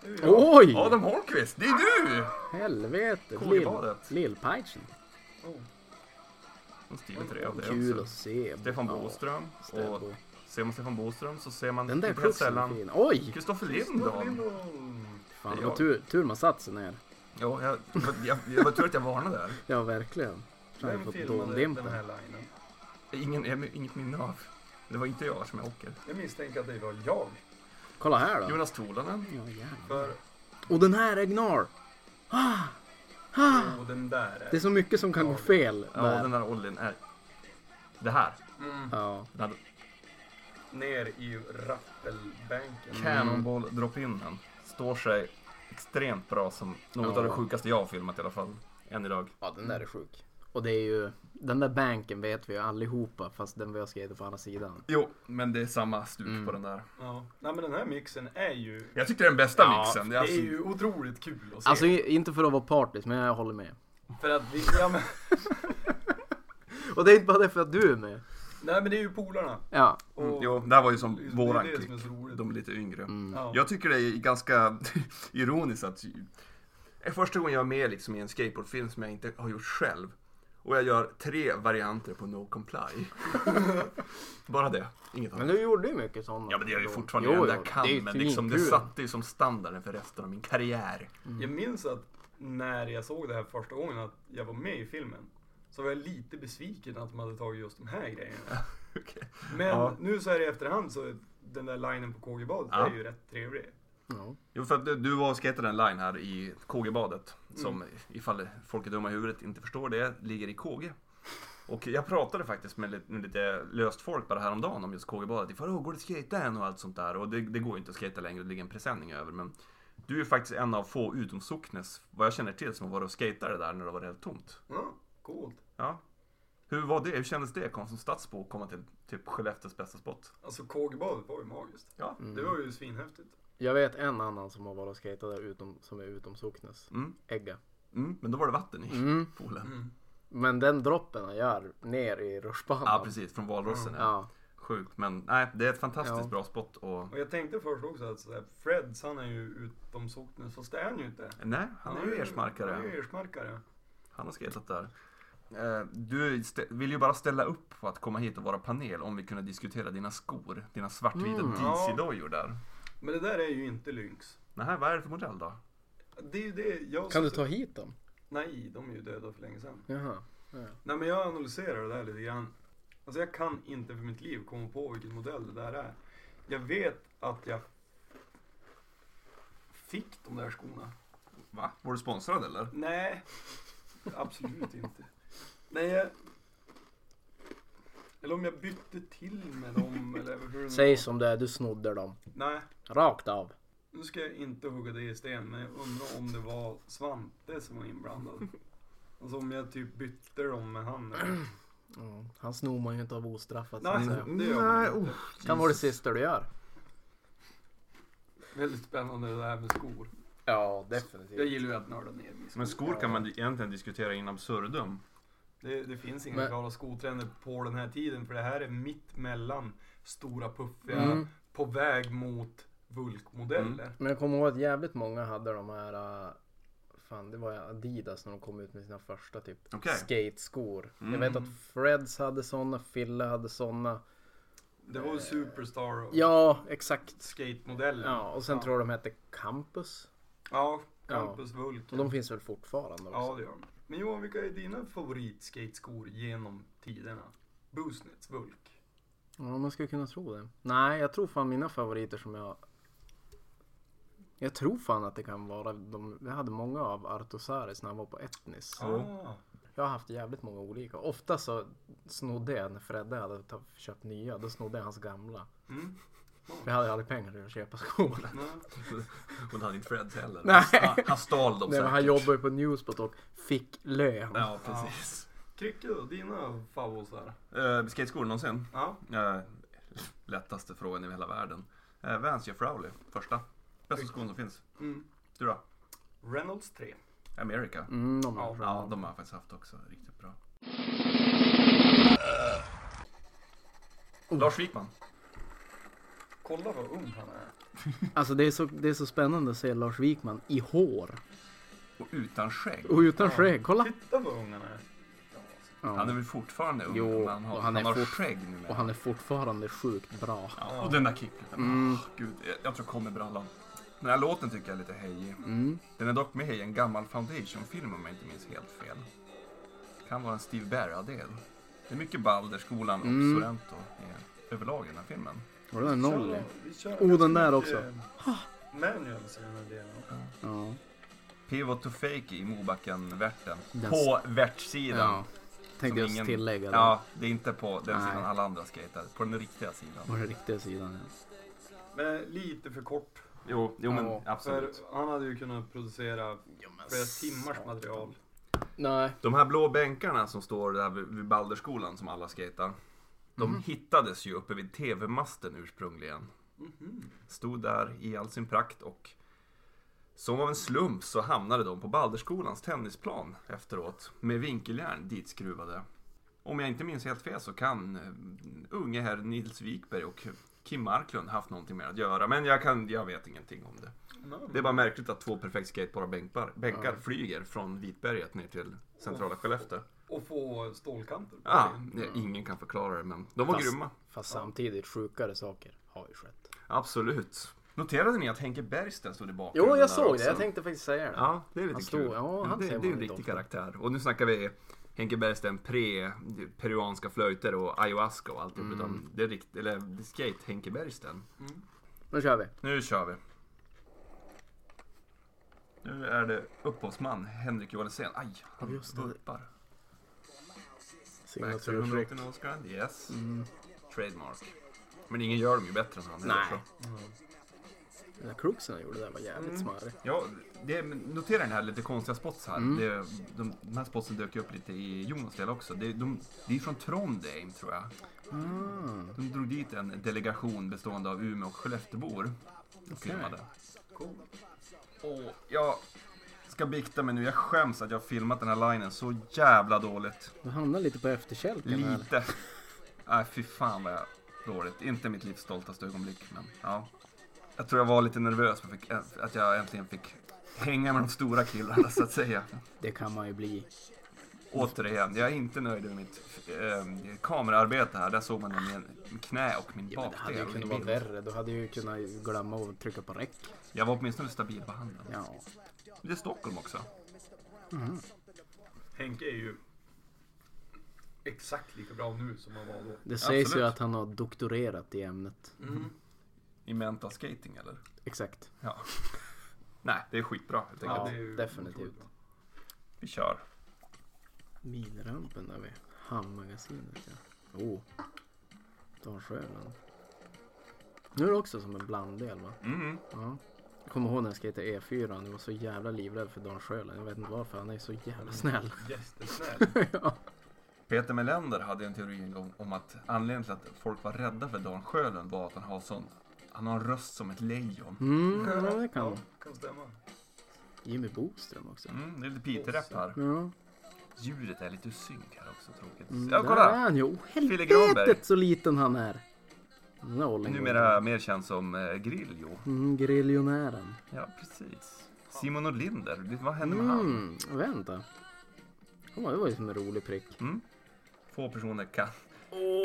S2: Det är ju jag.
S3: Oj!
S1: Adam Holmqvist, det är du!
S3: Helvete!
S1: Cool i badet.
S3: lill Pajchen.
S2: Ja.
S1: Och Steven tre av det
S3: Kul
S1: också.
S3: att se.
S1: Stefan
S3: Ja,
S1: Boström.
S3: Stebo.
S1: Och ser man Stefan Boström så ser man
S3: Den där
S1: inte helt
S3: skjutsen är
S1: sällan
S3: fin. Oj!
S1: Kristoffer
S2: Kristoffer
S1: Lindahl.
S2: Lindahl.
S1: det
S3: Fan, det
S1: är
S3: var
S1: jag.
S3: tur, tur man satt sig ner.
S1: Ja, jag, jag, jag var tur att jag varnade där.
S3: Ja, verkligen. Fan, jag har
S2: Vem
S3: fått
S2: filmade den
S3: dåndimpen.
S2: här linen?
S1: Ingen, jag har inget minne av. Det var inte jag som jag åker.
S2: Jag misstänker att det var jag.
S3: Kolla här då.
S1: Jonas Tolanen.
S3: Ja, jävlar.
S2: För
S3: och den här är Gnar.
S1: Ah!
S2: och den där är...
S3: Det är så mycket som kan gå fel.
S1: Ja,
S3: där.
S1: den där Ollin är... Det här.
S2: Mm.
S3: ja.
S1: Den här
S2: Ner i
S3: Mm.
S2: rappelbänken.
S1: Cannonball drop-innen. Står sig extremt bra som något
S3: Ja.
S1: av det sjukaste jag har filmat i alla fall. Än idag.
S3: ja, den där är sjuk. Och det är ju, den där banken vet vi ju allihopa, fast den vi har skrivit på andra sidan.
S1: Jo, men det är samma stuk
S3: Mm.
S1: på den där.
S2: Ja. Nej men den här mixen är ju...
S1: Jag tyckte det är den bästa
S3: Ja,
S1: mixen. Det
S2: Det
S1: är
S2: är
S1: alltså,
S2: ju otroligt kul att se.
S3: Alltså i- inte för att vara partisk, men jag håller med.
S2: För att vi, ja, men,
S3: Och det är inte bara det för att du är med.
S2: nej men det är ju polarna.
S3: Ja.
S2: Och
S1: mm, jo, det här var ju som
S2: det är ju
S1: våran
S2: det som är
S1: klick.
S2: så roligt.
S1: De lite yngre.
S3: Mm.
S2: Ja.
S1: Jag tycker det är ganska [LAUGHS] ironiskt att det är första gången jag är med liksom i en skateboardfilm som jag inte har gjort själv. Och jag gör tre varianter på No Comply. [LAUGHS] Bara det, inget
S3: Men
S1: annat.
S3: du gjorde ju mycket sådana.
S1: Ja men det gör jag ju
S3: då.
S1: fortfarande
S3: Jo,
S1: det enda
S3: jo,
S1: jag kan.
S3: är ju
S1: men liksom, det
S3: svinkul.
S1: satte ju som standarden för resten av min karriär. [LAUGHS]
S2: Jag minns att när jag såg det här första gången att jag var med i filmen så var jag lite besviken att de hade tagit just de här grejerna.
S1: Okej.
S2: Men
S1: Ja.
S2: nu så här i efterhand så den där linen på KG-badet
S1: Ja.
S2: är ju rätt trevlig.
S3: Ja.
S1: Jo, för att du, du var och skejtade en line här i KG-badet. Som, ifall folk är dumma i huvudet, inte förstår det, ligger i KG. Och jag pratade faktiskt med, lite- med lite löst folk bara häromdagen om just KG-badet. Ifall, oh, går det att skejta än och allt sånt där. Och det, det går ju inte att skejta längre, det ligger en presenning över. Men du är faktiskt en av få utom Socknes, vad jag känner till, som har varit och skejtat det där när det var helt tomt.
S2: Ja, coolt.
S1: Ja. Hur var det? Hur kändes det? Kom som stadsbo och komma till typ Skellefteås bästa spot? Mm.
S2: Alltså kågebadet var ju magiskt.
S1: Ja.
S2: Det var ju svinhäftigt.
S3: Jag vet en annan som har varit och skejtat där utom, som är utom Socknes.
S1: Mm,
S3: Egga.
S1: mm, men då var det vatten i
S3: Mm.
S1: poolen.
S2: Mm.
S3: Men den droppen han gör ner i rutschbanan.
S1: Ja, precis. Från valrossen. Ja.
S3: Ja.
S1: Sjukt, men nej, det är ett fantastiskt
S3: Ja.
S1: bra spot. Och...
S2: Och jag tänkte först också att så här, Freds han är ju utom Socknes fast det är han ju inte.
S1: Nej, han är ju
S2: Han är
S1: ersmarkare.
S2: ju ersmarkare.
S1: Han har skejtat där. Eh, Du stä- vill ju bara ställa upp på att komma hit och vara panel om vi kunde diskutera dina skor. Dina svartvita
S3: Mm.
S1: DC-dojor där.
S2: Men det där är ju inte Lynx.
S1: Nähä, vad är det för modell då?
S2: Det är ju det jag...
S3: Kan du ta hit dem?
S2: Nej, de är ju döda för länge sedan.
S3: Jaha. Ja.
S2: Nej men jag analyserar det där lite grann. Alltså jag kan inte för mitt liv komma på vilken modell det där är. Jag vet att jag fick de där skorna.
S1: Va? Var du sponsrad eller?
S2: Nej, absolut inte. Nej, jag... Eller om jag bytte till med dem eller hur det nu var.
S3: Säg som det är, du snodde dem.
S2: Nej,
S3: Rakt av.
S2: nu ska jag inte hugga det i sten men jag undrar om det var Svante som var inblandad. Alltså om jag typ bytte dem med han. eller-
S3: Mm. Han snor man ju inte av ostraffat. så att
S2: Nej, Mm.
S3: säga.
S2: det gör man
S1: Nej,
S2: inte.
S3: Kan vara det sista du gör.
S2: Väldigt spännande det där med skor.
S3: Ja,
S2: Jag
S3: definitivt.
S2: gillar ju att nörda ner mig i skor.
S1: Men skor kan man ju egentligen diskutera in absurdum.
S2: Det, det finns inga
S3: Men-
S2: klara skotrender på den här tiden för det här är mitt mellan stora puffiga
S3: Mm.
S2: på väg mot vulkmodeller.
S3: Men jag kommer ihåg att jävligt många hade de här, äh, fan det var ju Adidas när de kom ut med sina första typ
S1: Okej.
S3: skateskor.
S1: Mm.
S3: Jag vet att Freds hade sådana, Fille hade sådana.
S2: Det var ju Superstar och
S3: Ja, exakt.
S2: skatemodeller. Ja.
S3: Ja, och sen
S2: Ja.
S3: tror jag de hette Campus.
S2: Campus Vulk.
S3: Och de finns väl fortfarande också?
S2: Ja, det gör de. Men Johan, vilka är dina favoritskateskor genom tiderna? Busnets Vulk.
S3: Ja, man skulle kunna tro det. Nej, jag tror fan mina favoriter som jag... Jag tror fan att det kan vara de... Jag hade många av Artosaris när han var på Etnis.
S1: Ja.
S2: Ah,
S3: Jag har haft jävligt många olika. Ofta så snodde jag när Fredde hade ta- köpt nya, då snodde jag hans gamla.
S2: mm.
S3: Vi hade aldrig pengar till att köpa skor.
S2: Nej.
S1: [LAUGHS] Och det hade inte Fred heller.
S3: Nej.
S1: Han, han stal dem
S3: [LAUGHS] Nej, men
S1: säkert.
S3: han jobbade ju på Newspot och fick lön.
S1: Ja, precis.
S2: Krycke då, dina favvosar?
S1: Eh, skateskor någonsin?
S2: Ja.
S1: Eh, [LAUGHS] lättaste frågan i hela världen. Eh, Vans Jeff Rowley, första. Bästa skon som finns.
S2: Mm.
S1: Du då?
S2: Reynolds 3.
S1: America.
S3: Mm, de
S2: Ja,
S3: ja,
S1: Ja, de har jag faktiskt haft också. Riktigt bra. Lars Wikman.
S2: Kolla vad ung han är.
S3: Alltså det är, så, det är så spännande att se Lars Wikman i hår.
S1: Och utan skägg.
S3: Och utan
S2: Ja.
S3: skägg, kolla!
S2: Titta vad ung han är.
S1: Han är
S3: Ja.
S1: väl fortfarande ung?
S3: Jo,
S1: men han har,
S3: och
S1: han
S3: han är
S1: har
S3: fort-
S1: skägg nu.
S3: Och han är fortfarande sjukt bra.
S1: Ja, och den där kicken.
S3: Mm.
S1: Åh, Gud, jag, jag tror kommer brallan. Den här låten tycker jag är lite hejig.
S3: Mm.
S1: Den är dock med i en gammal Foundation-film om jag inte minns helt fel. Kan vara en Steve Berra-del. Det är mycket Balderskolan och
S3: Mm.
S1: Sorrento i- eh, överlag i den här filmen.
S3: Var det där Nolly?
S2: Vi kör
S3: Oh, den där
S2: ganska
S3: också.
S2: mycket Manuals i den här delen.
S3: Ja.
S1: Pivot to Fake i Mobacken-värten.
S3: Den-
S1: På värtsidan.
S3: ja.
S1: Ja.
S3: Tänkte
S1: Som
S3: jag
S1: ingen-
S3: tillägga. det.
S1: det är inte på den
S3: Nej.
S1: sidan alla andra skejtar. På den riktiga
S3: På
S1: sidan.
S3: den riktiga sidan. Ja.
S2: Men lite för kort.
S1: Jo, jo men
S3: Ja.
S2: För
S1: absolut.
S2: han hade ju kunnat producera flera timmars material.
S3: Nej.
S1: De här blå bänkarna som står där vid vid Balderskolan som alla skejtar. De hittades ju uppe vid TV-masten ursprungligen.
S2: Mhm.
S1: Stod där i all sin prakt och som av en slump så hamnade de på Balderskolans tennisplan efteråt. Med vinkeljärn ditskruvade. Om jag inte minns helt fel så kan eh, unge herr Nils Wikberg och Kim Marklund haft någonting med att göra. Men jag, kan, jag vet ingenting om det. Det är bara märkligt att två perfekt skatebara bänkar, bänkar
S3: Ja.
S1: flyger från Vitberget ner till centrala Skellefteå.
S2: Och få stålkanter. på
S1: Ja,
S2: sin-
S1: det- ingen kan förklara det men de var
S3: Fast-
S1: grymma.
S3: Fast samtidigt sjukare saker har ju skett.
S1: Absolut. Noterade ni att Henke Bergsten stod i bakgrunden?
S3: Jo, jag
S1: där
S3: såg
S1: också?
S3: det. Jag tänkte faktiskt säga det.
S1: Ja, det är lite
S3: Han
S1: kul.
S3: stod- ja, han
S1: det,
S3: ser
S1: det är
S3: man
S1: en
S3: inte
S1: riktig
S3: ofta.
S1: karaktär. Och nu snackar vi Henke Bergsten pre peruanska flöjter och ayahuasca och alltihop. Utan det är rikt, eller skate Henke Bergsten.
S3: Nu kör vi.
S1: Nu kör vi. Nu är det upphovsman Henrik Johansson. Aj, han
S3: Just det.
S1: burpar. Back to
S3: Signaturtrick.
S1: 180 Oscar,
S3: Mm.
S1: yes. Trademark. Men ingen gör dem ju bättre än han heller,
S3: Nej.
S1: så.
S3: Den där Crooksen han gjorde där var
S1: Mm.
S3: jävligt smarrig.
S1: Ja, det, notera den här lite konstiga spots här.
S3: Mm.
S1: Det, de, de här spotsen dök ju upp lite i Jonas del också. Det, de, det är från Trondheim tror jag.
S3: Ah,
S1: De drog dit en delegation bestående av Umeå och Skelleftebor. Och filmade. Och jag ska bikta mig nu. Jag skäms att jag har filmat den här linen så jävla dåligt.
S3: du hamnar lite på efterkälken här.
S1: Lite. Nej, fy fan vad jag dåligt. Inte mitt livs stoltaste ögonblick, men ja. Jag tror jag var lite nervös för fick- att jag äntligen fick hänga med de stora killarna så att säga.
S3: Det kan man ju bli.
S1: Återigen, jag är inte nöjd med mitt eh, kameraarbete här. Där såg man nämligen min knä och min
S3: Ja, men det hade ju
S1: bakdel. i
S3: kunnat vara
S1: bild.
S3: värre. Du hade ju kunnat glömma att trycka på räck.
S1: Jag var åtminstone stabil på handen.
S3: Ja.
S1: Det är Stockholm också. Mm.
S2: Henke är ju exakt lika bra nu som han var då.
S3: Det sägs ju
S1: Absolut.
S3: att han har doktorerat i ämnet.
S2: Mm.
S1: I mental skating eller?
S3: Exakt.
S1: Ja. Nej, det är skitbra helt enkelt.
S3: Ja,
S2: det är ju
S3: definitivt.
S2: otroligt bra.
S1: Vi kör.
S3: Minirampen där vid hamnmagasinet ja. Oh. Dalsjöland. Nu är det också som en blanddel va?
S1: Mm.
S3: Ja. Jag kommer ihåg när jag skejtade E4. Jag var så jävla livrädd för Dan Sjöland. Jag vet inte varför. Han är så jävla snäll.
S2: Jättesnäll.
S3: ja.
S1: Peter Melander hade en teori en gång om att anledningen till att folk var rädda för Dan Sjölund var att han har sån han har en röst som ett lejon.
S3: Mm, ja, det kan
S2: Ja,
S3: han.
S2: kan stämma.
S3: Jimmy Boström också.
S1: Mm, det är lite Peter-rap här.
S3: Ja.
S1: Ljudet är lite ur synk här också, tråkigt. Ja,
S3: Mm, Där är
S1: kolla!
S3: han ju. Oh,
S1: Fille Granberg.
S3: helvetet så liten han är. Den där åldern går
S1: Numera
S3: inte.
S1: mer känd som eh, Grill, jo.
S3: Mm, grillionären.
S1: Ja, precis. Simon Norlinder, det- vad hände med han?
S3: Mm, vänta. Oh, det var ju som en rolig prick.
S1: Mm. Få personer kan,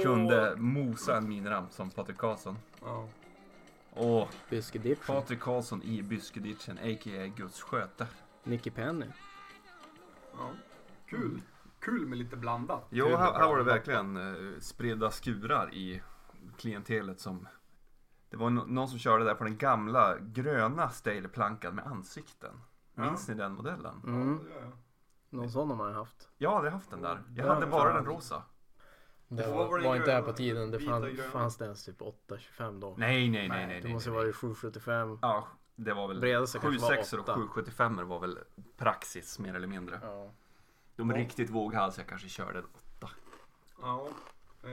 S1: kunde mosa en miniramp som Patrik Karlsson.
S2: Ja.
S1: Åh,
S3: Buskedippen.
S1: Patrik Karlsson i Byskeditchen, a.k.a. Guds sköte.
S3: Nicky Penny.
S2: ja. Kul. Kul med lite blandat.
S1: Jo,
S2: Kul med
S1: här, här var det
S2: blandat.
S1: verkligen eh, spridda skurar i klientelet som... Det var no- någon som körde där på den gamla gröna staleplankan med ansikten. Minns ni den modellen?
S3: Mm.
S2: Ja, det gör jag.
S3: Någon sån har man ju haft.
S1: Jag har aldrig haft den där. Jag
S2: Ja,
S1: hade
S2: jag
S1: bara
S2: har
S1: den
S2: den.
S1: rosa.
S3: Det
S2: Vad
S3: var,
S2: var det
S3: var inte här
S2: gröna?
S3: på tiden. Det
S2: Vita
S3: fann,
S2: gröna?
S3: fanns det ens typ 8-25 då.
S1: Nej, nej, nej, nej.
S3: det måste
S1: nej,
S3: ju
S1: nej.
S3: vara 775.
S1: Ja, det var väl...
S3: Bredaste kanske var
S1: 76 och
S3: 8.
S1: 775 var väl praxis mer eller mindre.
S3: Ja.
S1: De riktigt våghalsiga kanske körde en 8.
S2: Ja. Eh,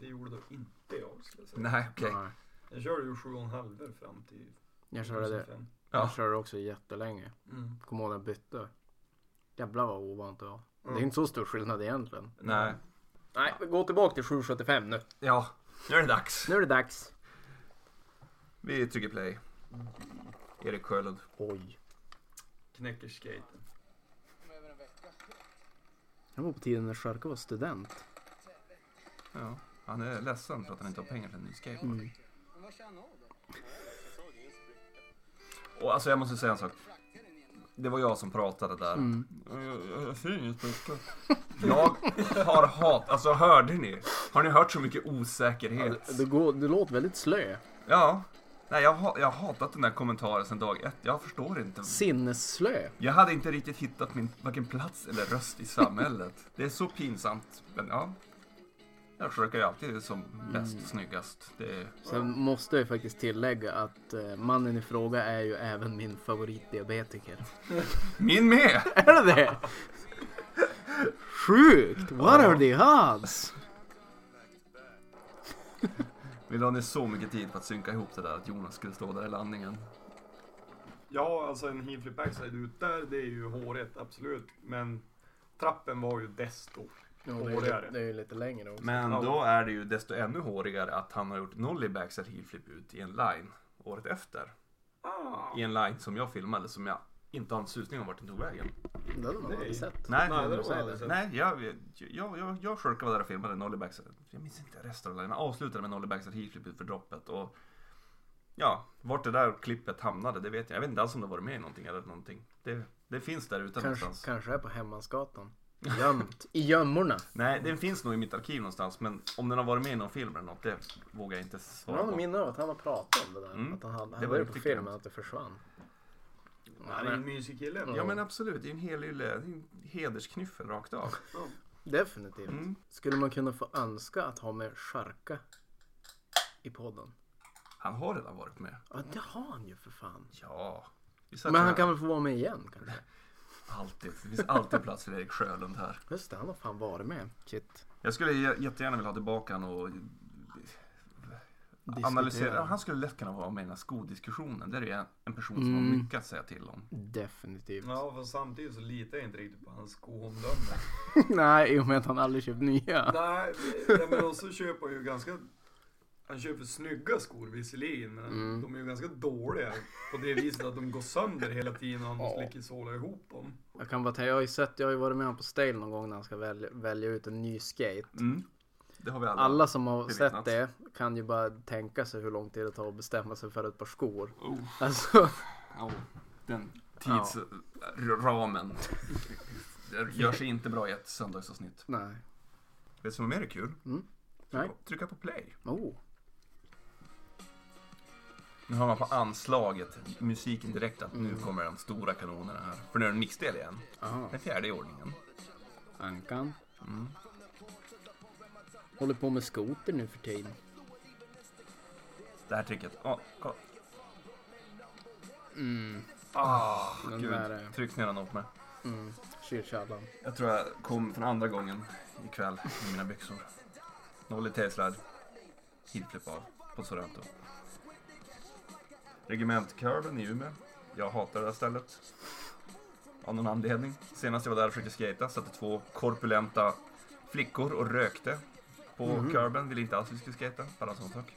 S2: det gjorde då inte jag skulle jag säga.
S1: Nej, okej.
S3: Nej.
S2: Jag körde ju sju och en halv där fram till
S3: Jag körde det.
S2: 2005.
S1: Ja.
S3: Jag körde också jättelänge.
S2: Mm.
S3: Kommer ihåg när jag bytte. Jävlar vad ovant det var. Det
S2: Mm.
S3: är inte så stor skillnad egentligen.
S1: Nej.
S3: Nej, vi går tillbaka till 775 nu.
S1: Ja, nu är det dags.
S3: Nu är det dags.
S1: Vi trycker play. Erik Sjölund.
S3: Oj.
S2: Knäcker skaten.
S3: Det var på tiden när Sjarka var student.
S1: Ja, han är ledsen för att han inte har pengar till en ny skateboard. Och alltså jag måste säga en sak. Det var jag som pratade där. Jag ser inget mycket. Jag har hat, alltså hörde ni? Har ni hört så mycket osäkerhet?
S3: Du, går, du låter väldigt slö.
S1: Ja. Nej, jag har, jag har hatat den där kommentaren sedan dag ett. Jag förstår inte.
S3: Sinnesslö.
S1: Jag hade inte riktigt hittat min varken plats eller röst i [LAUGHS] samhället. Det är så pinsamt. Men ja. Jag försöker ju alltid som bäst och snyggast. Det är...
S3: Sen måste jag ju faktiskt tillägga att eh, mannen i fråga är ju även min favoritdiabetiker. [LAUGHS]
S1: Min med!
S3: Är det det? Sjukt! What
S1: Ja.
S3: are the odds?
S1: Vi la ner så mycket tid på att synka ihop det där att Jonas skulle stå där i landningen.
S2: Ja, alltså en heel flip backside ut där, det är ju håret absolut. Men trappen var ju desto. det är ju- det
S3: ju lite längre också.
S1: Men då är det ju desto ännu hårigare att han har gjort nollie backside heel flip ut i en line året efter.
S2: Ah,
S1: I en line som jag filmade som jag inte har en susning om vart den tog vägen.
S3: Det hade man
S2: Nej.
S3: aldrig sett.
S1: Nej,
S2: Nej, det
S1: du
S2: var
S1: säger
S2: aldrig
S1: det.
S2: sett.
S1: Nej jag, jag, jag, jag själv var där och filmade nollie backside. Jag minns inte resten av linen. Jag avslutade med nollie backside heel flip ut för droppet. Och ja, vart det där klippet hamnade det vet jag. Jag vet inte alls om det var med i någonting eller någonting. Det, det finns där ute
S3: Kanske,
S1: någonstans.
S3: kanske är på [LAUGHS] Hemmansgatan. Gömt. I gömmorna.
S1: Nej, den finns nog i mitt arkiv någonstans, men om den har varit med i någon film eller något, det vågar jag inte
S3: Jag
S1: svara
S3: har
S1: på.
S3: minne av att han har pratat om det där.
S1: Mm.
S3: Att han hade,
S1: Det
S3: han
S1: var
S3: var på
S1: riktigt
S3: filmen
S1: grymt.
S3: att det försvann.
S2: han är en mysig kille.
S1: Ja men absolut, det är en hel det är en hedersknyffel rakt av.
S3: Definitivt.
S1: Mm.
S3: Skulle man kunna få önska att ha med Sharka i podden?
S1: Han har redan varit med.
S3: Ja, det har han ju för fan.
S1: Ja. Vi satt
S3: Men han
S1: här.
S3: kan väl få vara med igen kanske?
S1: Alltid. Det finns alltid plats för Erik Sjölund här.
S3: Just det, han har fan varit med. Shit.
S1: Jag skulle jä- jättegärna vilja ha tillbaka honom och eh,
S3: Diskutera.
S1: analysera. Han skulle lätt kunna vara med i den här skodiskussionen. Det är ju en- en person som har
S3: Mm.
S1: mycket att säga till om.
S3: Definitivt.
S2: Ja, fast samtidigt så litar jag inte riktigt på hans skoomdöme.
S3: [LAUGHS] Nej, i och med att han aldrig köpt nya.
S2: [LAUGHS] Nej, ja, men också köper han ju ganska... Han köper snygga skor visserligen, men
S3: Mm.
S2: de är ju ganska dåliga på det viset att de går sönder hela tiden och han
S3: Ja.
S2: måste liksom såla ihop dem.
S3: Jag kan bara säga, jag har ju sett, jag har ju varit med honom på Stale någon gång när han ska välja, välja ut en ny skate.
S1: Mm. Det har vi alla.
S3: Alla som har
S1: bevittnat.
S3: sett det kan ju bara tänka sig hur lång tid det tar att bestämma sig för ett par skor.
S1: Oh,
S3: Alltså, [LAUGHS]
S1: oh. Den tidsramen Det gör sig inte bra i ett söndagsavsnitt.
S3: nej.
S1: Vet du vad som är mer är kul?
S3: Mm.
S1: Trycka-
S3: Nej.
S1: Trycka på play.
S3: Oh.
S1: Nu hör man på anslaget, musiken direkt, att nu kommer de stora kanonerna här. För nu är det en mixdel igen.
S3: Aha.
S1: Den fjärde i ordningen.
S3: Ankan.
S1: Mm.
S3: Håller på med skoter nu för tiden.
S1: Det här tricket. Åh, kolla.
S3: Mm.
S1: Ah,
S3: Den där är-
S1: gud. Tryck ner den åt mig.
S3: Mm. Kyrkjallan.
S1: Jag tror jag kom för andra gången ikväll med mina byxor. Noll i T-sladd. Heatflip av på Sorrento. Regementcurven i Umeå. Jag hatar det här stället. Av någon anledning. Senast jag var där och försökte skata satte två korpulenta flickor och rökte på
S3: Mhm.
S1: curben. Ville inte alls att vi skulle skata. Bara en sån sak.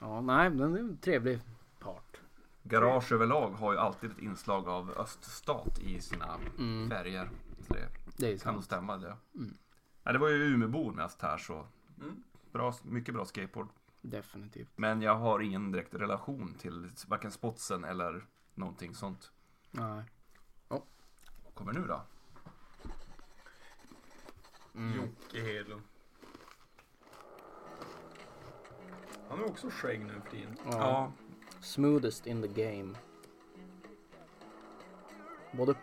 S3: Ja, nej, den är en trevlig part.
S1: Garage överlag har ju alltid ett inslag av öststat i sina
S3: Mm.
S1: färger. Så det
S3: Det är ju
S1: kan nog
S3: sant.
S1: stämma det.
S3: Mm.
S1: Ja, det var ju Umeåbor mest här så
S2: Mm.
S1: bra, mycket bra skateboard.
S3: Definitivt.
S1: Men jag har ingen direkt relation till varken spotsen eller någonting sånt.
S3: Nej.
S1: Vad kommer nu då?
S3: Mm.
S2: Jocke Hedlund. Han har också skägg nu för tiden.
S3: Ja. Smoothest in the game. Både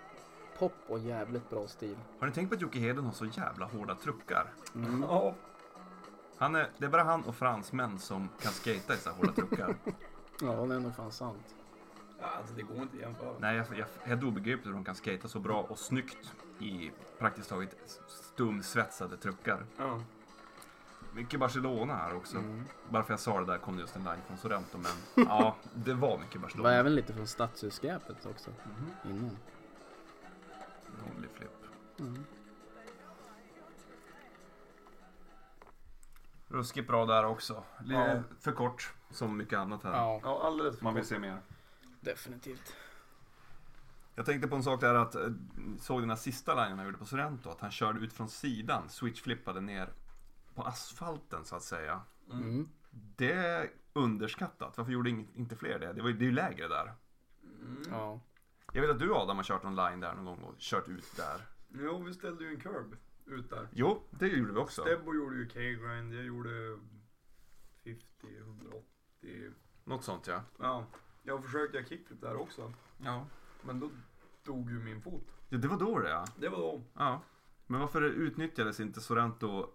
S3: pop och jävligt bra stil.
S1: Har ni tänkt på att Jocke Hedlund har så jävla hårda truckar?
S3: Mm.
S2: Ja,
S1: Han är, det är bara han och fransmän som kan skata i så här hårda truckar.
S3: Ja, det är nog fan sant.
S2: alltså det går inte att jämföra.
S1: Nej, jag, jag, helt obegripligt hur de kan skata så bra och snyggt i praktiskt taget stumsvetsade truckar.
S2: Ja.
S1: Mycket Barcelona här också.
S3: Mm.
S1: Varför jag sa det där kom just en line från Sorrento,
S3: [LAUGHS]
S1: men ja, det var mycket
S3: Det var
S1: Barcelona.
S3: även lite från stadshusskräpet också
S1: Mhm.
S3: innan.
S1: Only flip.
S3: Mm.
S1: Ruskigt bra där också. Li-
S2: Ja.
S1: För kort, som mycket annat här.
S2: Ja, alldeles för
S1: Man vill
S2: kort.
S1: se mer.
S3: definitivt.
S1: Jag tänkte på en sak där att, eh, såg den här sista linjen han gjorde på Sorrento, att han körde ut från sidan, switchflippade ner på asfalten så att säga.
S2: Mm.
S3: Mm.
S1: Det är underskattat. Varför gjorde ing- inte fler det? Det, var, ju- det är ju lägre där.
S2: Mm.
S3: Ja.
S1: Jag vet att du Adam har kört någon line där någon gång och kört ut där.
S2: Jo, vi ställde ju en curb ut där.
S1: Jo, det gjorde vi också.
S2: Debbo gjorde ju K-grind, jag gjorde 50, 180.
S1: Något sånt ja.
S2: Ja, jag försökte göra kickflip där också.
S1: ja.
S2: Men då dog ju min fot.
S1: Ja, det var då det ja.
S2: Det var då.
S1: Ja. Men varför utnyttjades inte Sorrento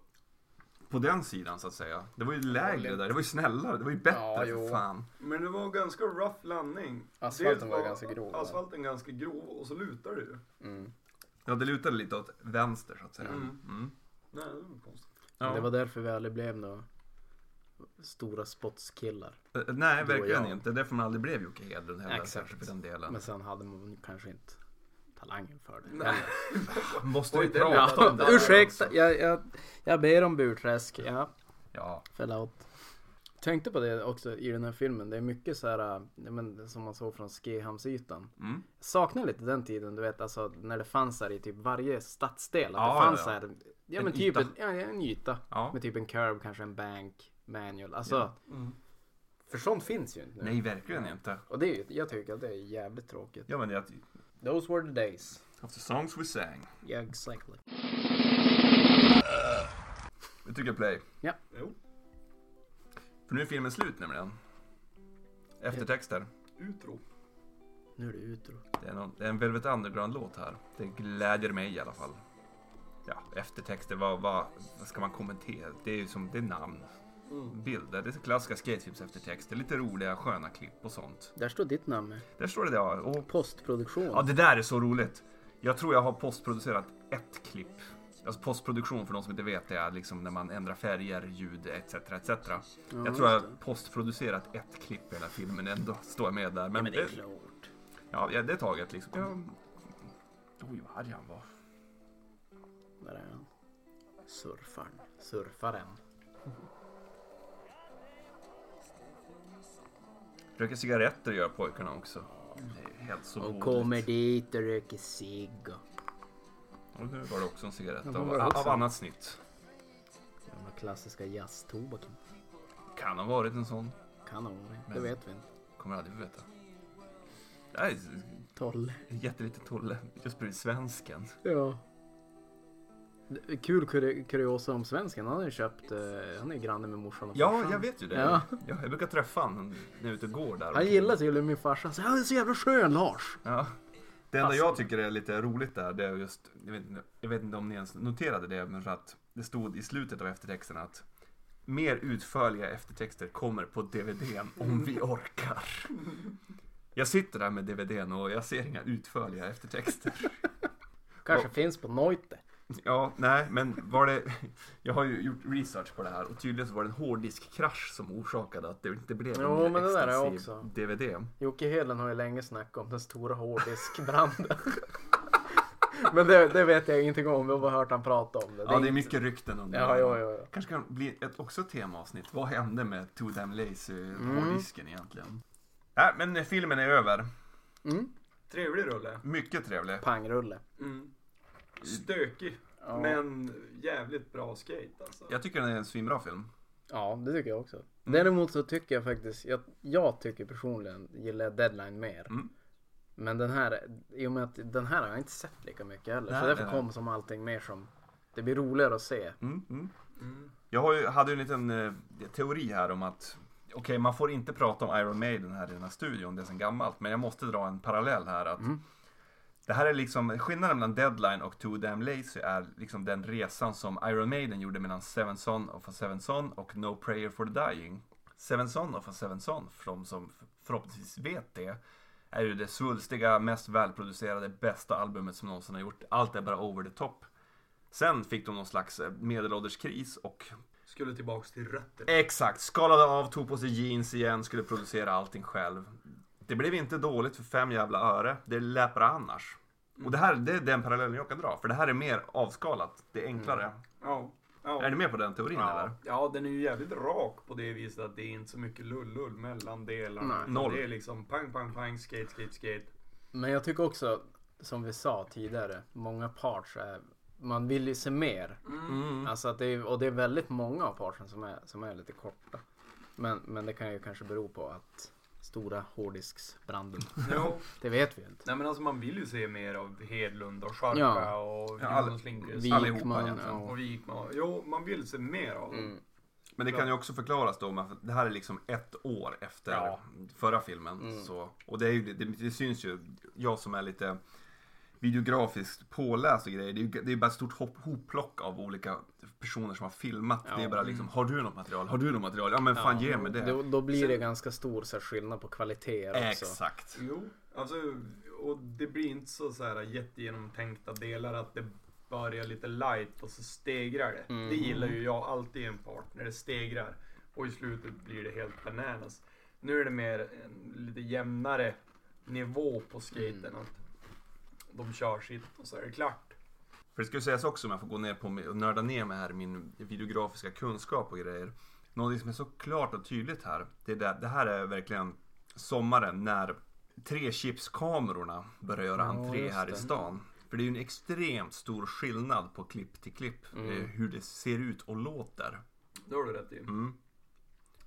S1: på den sidan så att säga? Det var ju lägre
S3: Dåligt.
S1: där, det var ju snällare, det var ju bättre
S3: Ja, jo.
S1: för fan.
S2: Men det var en ganska rough landning.
S3: Asfalten
S2: Dels
S3: var ju ganska grov, va?
S2: Asfalten ganska grov och så lutar det ju.
S3: Mm.
S1: Ja, det lutade lite åt vänster så att säga.
S2: Mm.
S1: Mm.
S2: Nej, det var konstigt.
S1: Ja.
S3: Det var därför vi aldrig blev några stora spotskillar.
S1: Eh, Nej,
S3: Du och
S1: verkligen
S3: jag.
S1: inte. Det är därför man aldrig blev Jocke Hedlund heller,
S3: Exakt.
S1: kanske för den delen.
S3: Men sen hade man kanske inte talangen för det.
S2: Nej.
S1: Måste
S2: Oj,
S1: vi
S2: det-
S1: prata
S3: Ja,
S1: om det? här
S3: [LAUGHS] ursäkta,
S1: också?
S3: jag, jag, jag ber om burträsk. Ja,
S1: Ja.
S3: förlåt. Tänkte på det också i den här filmen. Det är mycket så här, äh, ja, men, som man såg från Skehamnsytan.
S1: Mm.
S3: Saknar lite den tiden, du vet, alltså när det fanns här i typ varje stadsdel. Att
S1: Ja,
S3: det fanns
S1: ja, ja.
S3: här, ja
S1: En
S3: men typ
S1: yta.
S3: en, ja, en yta.
S1: Ja.
S3: Med typ en curb, kanske en bank, manual. Alltså,
S1: Ja.
S2: Mm.
S3: för sånt finns ju inte nu.
S1: Nej, verkligen inte.
S3: Och det är, ju- jag tycker att det är jävligt tråkigt.
S1: Ja, men det är att...
S3: Those were the days.
S1: Of the songs we sang.
S3: Yeah, exactly.
S1: Vi tycker play.
S2: Jo,
S1: För nu är filmen slut nämligen. Eftertexter.
S2: utrop.
S3: Nu är det utro.
S1: Det är, någon, det är en Velvet Underground-låt här. Det gläder mig i alla fall. Ja, eftertexter, vad, vad, vad ska man kommentera? Det är ju som, det är namn.
S3: Mm.
S1: bilder. Det är klassiska skatefilms eftertexter, lite roliga sköna klipp och sånt.
S3: Där står ditt namn med.
S1: Där står det där. Och,
S3: Postproduktion.
S1: ja, det där är så roligt. Jag tror jag har postproducerat ett klipp. Alltså postproduktion för de som inte vet det är liksom när man ändrar färger, ljud etc. etc.
S3: Ja,
S1: Jag tror jag
S3: just
S1: har
S3: det.
S1: postproducerat ett klipp i den här filmen ändå. Står jag med där. Men,
S3: Ja, men det är
S1: det,
S3: klart.
S1: ja, ja, det är taget liksom. Ja. Oj, vad arg han var.
S3: Där är han. Surfaren. Surfaren.
S1: Röker cigaretter gör pojkarna också. Det är hälsovådligt.
S3: Och kommer dit och röker cigg. och-
S1: Och nu var det också en cigarett
S3: Ja,
S1: av,
S3: var det också.
S1: av annat snitt.
S3: Gamla klassiska jazztobaken.
S1: Kan ha varit en sån.
S3: Kan ha varit. Det
S1: Men-
S3: vet vi inte.
S1: Kommer aldrig få veta. Det här är
S3: Tolle.
S1: en jätteliten Tolle. Just bredvid svensken.
S3: Ja. Kul kuri- kuriosa om svensken. Han har ju köpt, eh, han är ju granne med morsan och
S1: Ja,
S3: farsan.
S1: jag vet ju det.
S3: Ja.
S1: Ja, jag brukar träffa honom när jag är ute och går där.
S3: Han gillar tydligen min farsa. Han säger, han är så jävla skön Lars.
S1: Ja. Det enda
S3: Alltså-
S1: jag tycker är lite roligt där, det är just, jag vet, inte- jag vet inte om ni ens noterade det, men för att det stod i slutet av eftertexten att mer utförliga eftertexter kommer på DVDn om
S3: [LAUGHS]
S1: vi orkar. Jag sitter där med DVDn och jag ser inga utförliga
S3: [LAUGHS]
S1: eftertexter.
S3: Kanske
S1: Ja.
S3: finns på Noite.
S1: Ja, nej, men var det... Jag har ju gjort research på det här och tydligen så var det en hårddiskkrasch som orsakade att det inte blev en
S3: Jo,
S1: mer
S3: men det där har jag
S1: extensiv
S3: också.
S1: DVD.
S3: Jocke Hedlund har ju länge snackat om den
S1: [LAUGHS]
S3: stora hårddiskbranden. Men det, det vet jag ingenting om. Vi har bara hört han prata om det.
S1: Ja, det är
S3: inte-
S1: mycket rykten om det.
S3: Ja, ja, ja, ja.
S1: kanske kan bli ett också temaavsnitt. Vad hände med Too Damn Lazy
S2: Mm.
S1: hårddisken egentligen? Nej, men filmen är över.
S3: Mm.
S2: Trevlig rulle.
S1: Mycket trevlig.
S3: Pangrulle.
S2: Mm. Stökig,
S3: Ja.
S2: men jävligt bra skate alltså.
S1: Jag tycker den är en svinbra film.
S3: Ja, det tycker jag också.
S1: Mm.
S3: Däremot så tycker jag faktiskt, jag, jag tycker personligen gillar jag Deadline mer.
S1: Mm.
S3: Men den här, i och med att den här har jag inte sett lika mycket heller.
S1: Nej,
S3: så därför
S1: nej, nej.
S3: kom som allting mer som, det blir roligare att se.
S1: Mm, mm.
S2: Mm.
S1: Jag har ju, hade ju en liten eh, teori här om att okej, man får inte prata om Iron Maiden här i den här studion, det är sen gammalt, men jag måste dra en parallell här att det här är liksom skillnaden mellan Deadline och Too Damn Lazy är liksom den resan som Iron Maiden gjorde mellan Seven Son of a Seven Son och No Prayer for the Dying. Seven Son of a Seven Son, för de som förhoppningsvis vet det, är ju det svulstiga, mest välproducerade, bästa albumet som någonsin har gjort. Allt är bara over the top. Sen fick de någon slags eh, medelålderskris och
S2: Skulle tillbaks till rötter.
S1: Exakt, skalade av, tog på sig jeans igen, skulle producera allting själv. Det blev inte dåligt för fem jävla öre, det lät bra annars. Och det här det är den parallellen jag kan dra, för det här är mer avskalat, det är enklare.
S2: Mm. Ja.
S1: Är
S2: Ja.
S1: ni med på den teorin eller?
S2: ja, den är ju jävligt rak på det viset att det är inte så mycket lullull mellan delarna.
S3: Nej.
S2: Utan
S1: Noll.
S2: Det är liksom pang, pang, pang, skate, skate, skate.
S3: Men jag tycker också, som vi sa tidigare, många parts är, man vill ju se mer.
S1: Mm.
S3: Alltså att det är, och det är väldigt många av partsen som är, som är lite korta. Men, men det kan ju kanske bero på att stora hårddisksbranden,
S2: Jo.
S3: det vet vi inte.
S2: Nej men alltså man vill ju se mer av Hedlund och Scharka
S3: Ja.
S2: och
S1: Ja, all-
S2: Jonas Lindqvist.
S1: Vi- allihopa
S3: Wikman
S1: egentligen.
S3: och-
S2: Och Wikman. Mm. Jo, man vill se mer av dem.
S1: Men det kan ju också förklaras då med att det här är liksom ett år efter
S3: Ja.
S1: förra filmen. Så, och det, är ju, det, det syns ju, jag som är lite videografiskt påläst och grejer, det är, ju, det är bara ett stort hopp, hopplock av olika personer som har filmat. Det är bara liksom, har du något material? Har du något material? Ja men fan ge mig det.
S3: Då, då blir det ganska stor så här, skillnad på kvaliteter också.
S1: Exakt.
S2: Jo, alltså och det blir inte så, så här jättegenomtänkta delar att det börjar lite light och så stegrar det. Det gillar ju jag alltid i en part, när det stegrar. Och i slutet blir det helt bananas. Nu är det mer en lite jämnare nivå på skaten. Att de kör sitt och så är det klart.
S1: För det ska ju sägas också, om jag får gå ner på mig och nörda ner mig här i min videografiska kunskap och grejer. Någonting som är så klart och tydligt här, det, är det, det här är verkligen sommaren när trechipskamerorna börjar göra
S3: Ja,
S1: entré
S3: just
S1: här i
S3: det.
S1: stan. För det är ju en extremt stor skillnad på klipp till klipp,
S3: Mm.
S1: eh, hur det ser ut och låter.
S2: Det har du rätt i.
S1: Mm.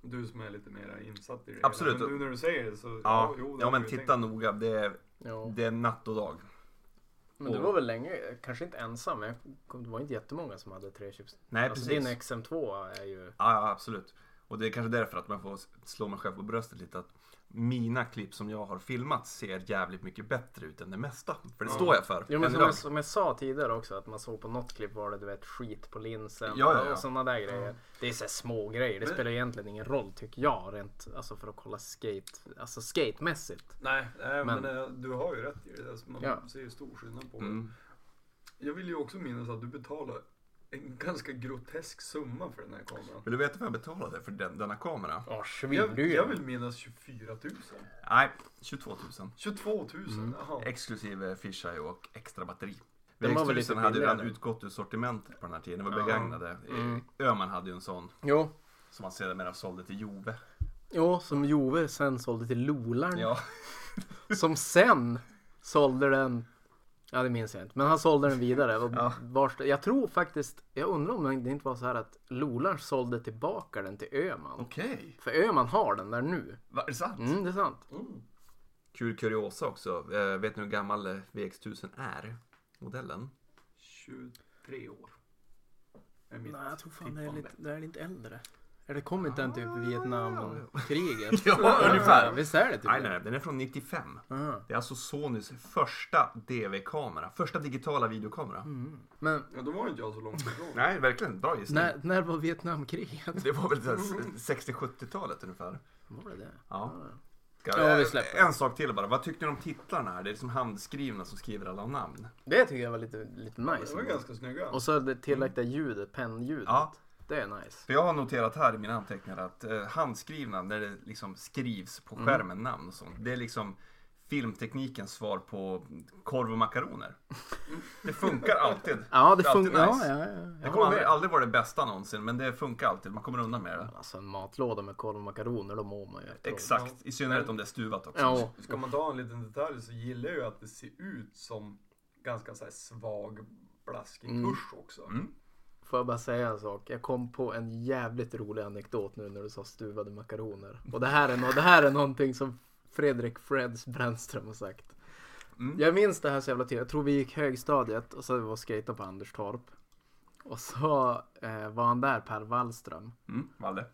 S2: Du som är lite mer insatt i det.
S1: Absolut.
S2: Men nu när du säger det så.
S1: Ja,
S2: det
S1: ja
S2: har
S1: men
S2: jag ju
S1: titta
S2: tänkt.
S1: noga, det är,
S3: Ja.
S1: det är natt och dag.
S3: Men du var väl länge, kanske inte ensam, men jag kom- det var inte jättemånga som hade tre chips.
S1: Nej,
S3: alltså
S1: precis.
S3: din XM2 är ju...
S1: Ja, ja, absolut. Och det är kanske därför att man får slå mig själv på bröstet lite. Att mina klipp som jag har filmat ser jävligt mycket bättre ut än det mesta. För det står jag för.
S3: Jo, men
S1: än
S3: som
S1: idag.
S3: jag, som jag sa tidigare också att man såg på något klipp var det du vet skit på linsen
S1: Ja, ja, ja.
S3: och sådana där grejer. Det är så här små grejer. Det spelar egentligen ingen roll tycker jag rent alltså för att kolla skate, alltså skatemässigt.
S2: Nej, nej men,
S3: Men-
S2: eh, du har ju rätt i det. Alltså, man
S3: Ja.
S2: ser ju stor skillnad på det.
S1: Mm.
S2: Jag vill ju också minnas att du betalade en [LAUGHS] ganska grotesk summa för den här kameran.
S1: Vill du veta vad jag betalade för den, denna kamera?
S3: Ja,
S2: Jag, jag vill
S3: svindyr.
S2: minnas 24 000.
S1: Nej, 22 000.
S2: 22 000,
S1: Mm.
S2: jaha.
S1: Exklusive fisheye eh, och extra batteri.
S3: Den var väl
S1: VX1000
S3: lite
S1: hade ju redan
S3: billigare.
S1: utgått ur sortimentet på den här tiden. Det var
S3: Ja.
S1: begagnade.
S3: Mm.
S1: Eh, Öhman hade ju en sån
S3: Jo.
S1: som han sedermera sålde till Jove.
S3: jo, som Jove sen sålde till Lolan.
S1: Ja.
S3: Som sen sålde den Ja det minns jag inte. Men han sålde den vidare. Och
S1: Ja.
S3: vars, jag tror faktiskt, jag undrar om det inte var så här att Lolan sålde tillbaka den till Öman.
S1: Okej.
S3: För Öman har den där nu.
S1: Va, Är det sant?
S3: Mm, det är sant.
S1: Kul kuriosa också. Eh, vet ni hur gammal eh, VX1000 är?
S3: [LAUGHS]
S1: Modellen?
S2: 23 år. Är mitt
S3: Nej, jag tror fan det är lite,
S2: tippande.
S3: det är lite äldre. Eller kom inte den typ Vietnamkriget?
S1: Ah. [LAUGHS] Ja, ungefär.
S3: Visst är det typ
S1: Nej,
S3: det?
S1: nej, den är från 95.
S3: Aha.
S1: Det är alltså Sonys första DV-kamera. Första digitala videokamera.
S3: Mm. Men
S2: Ja, då var ju inte jag så långt ifrån.
S1: Nej, verkligen. Bra gissning.
S3: när, när var Vietnamkriget?
S1: Det var väl så här s- 60-70-talet ungefär.
S3: [LAUGHS] Var det det?
S1: Ja.
S3: Ja, vi släpper.
S1: En sak till bara. Vad tyckte ni om titlarna här? Det är liksom handskrivna som skriver alla namn.
S3: Det tycker jag var lite, lite
S2: Det
S3: nice.
S2: var
S3: ändå.
S2: ganska snygga.
S3: Och så det tillräckliga ljudet, pennljudet.
S1: Ja.
S3: Det är nice.
S1: För jag har noterat här i mina anteckningar att eh, handskrivna, när det liksom skrivs på
S3: Mm.
S1: skärmen namn och sånt. Det är liksom filmteknikens svar på korv och makaroner. Det funkar alltid.
S3: [LAUGHS] Ja, det
S1: är alltid
S3: funkar.
S1: nice.
S3: Ja, ja, ja.
S1: Det kommer
S3: Jag håller
S1: aldrig,
S3: med.
S1: aldrig vara det bästa någonsin, men det funkar alltid. Man kommer undan med det.
S3: Alltså en matlåda med korv och makaroner, då mår man ju. ett tag.
S1: Exakt, i synnerhet om det är stuvat också.
S3: Ja,
S2: Ska man ta en liten detalj så gillar jag ju att det ser ut som ganska så här svag blaskig tusch också.
S3: Får jag bara säga en sak? Jag kom på en jävligt rolig anekdot nu när du sa stuvade makaroner. Och det här är, nå det här är någonting som Fredrik Freds Brännström har sagt. Jag minns det här så jävla tydligt. Jag tror vi gick högstadiet och så var vi och skejtade på Anderstorp. Och så eh, var han där, Per Wallström.
S1: Mm, Valle.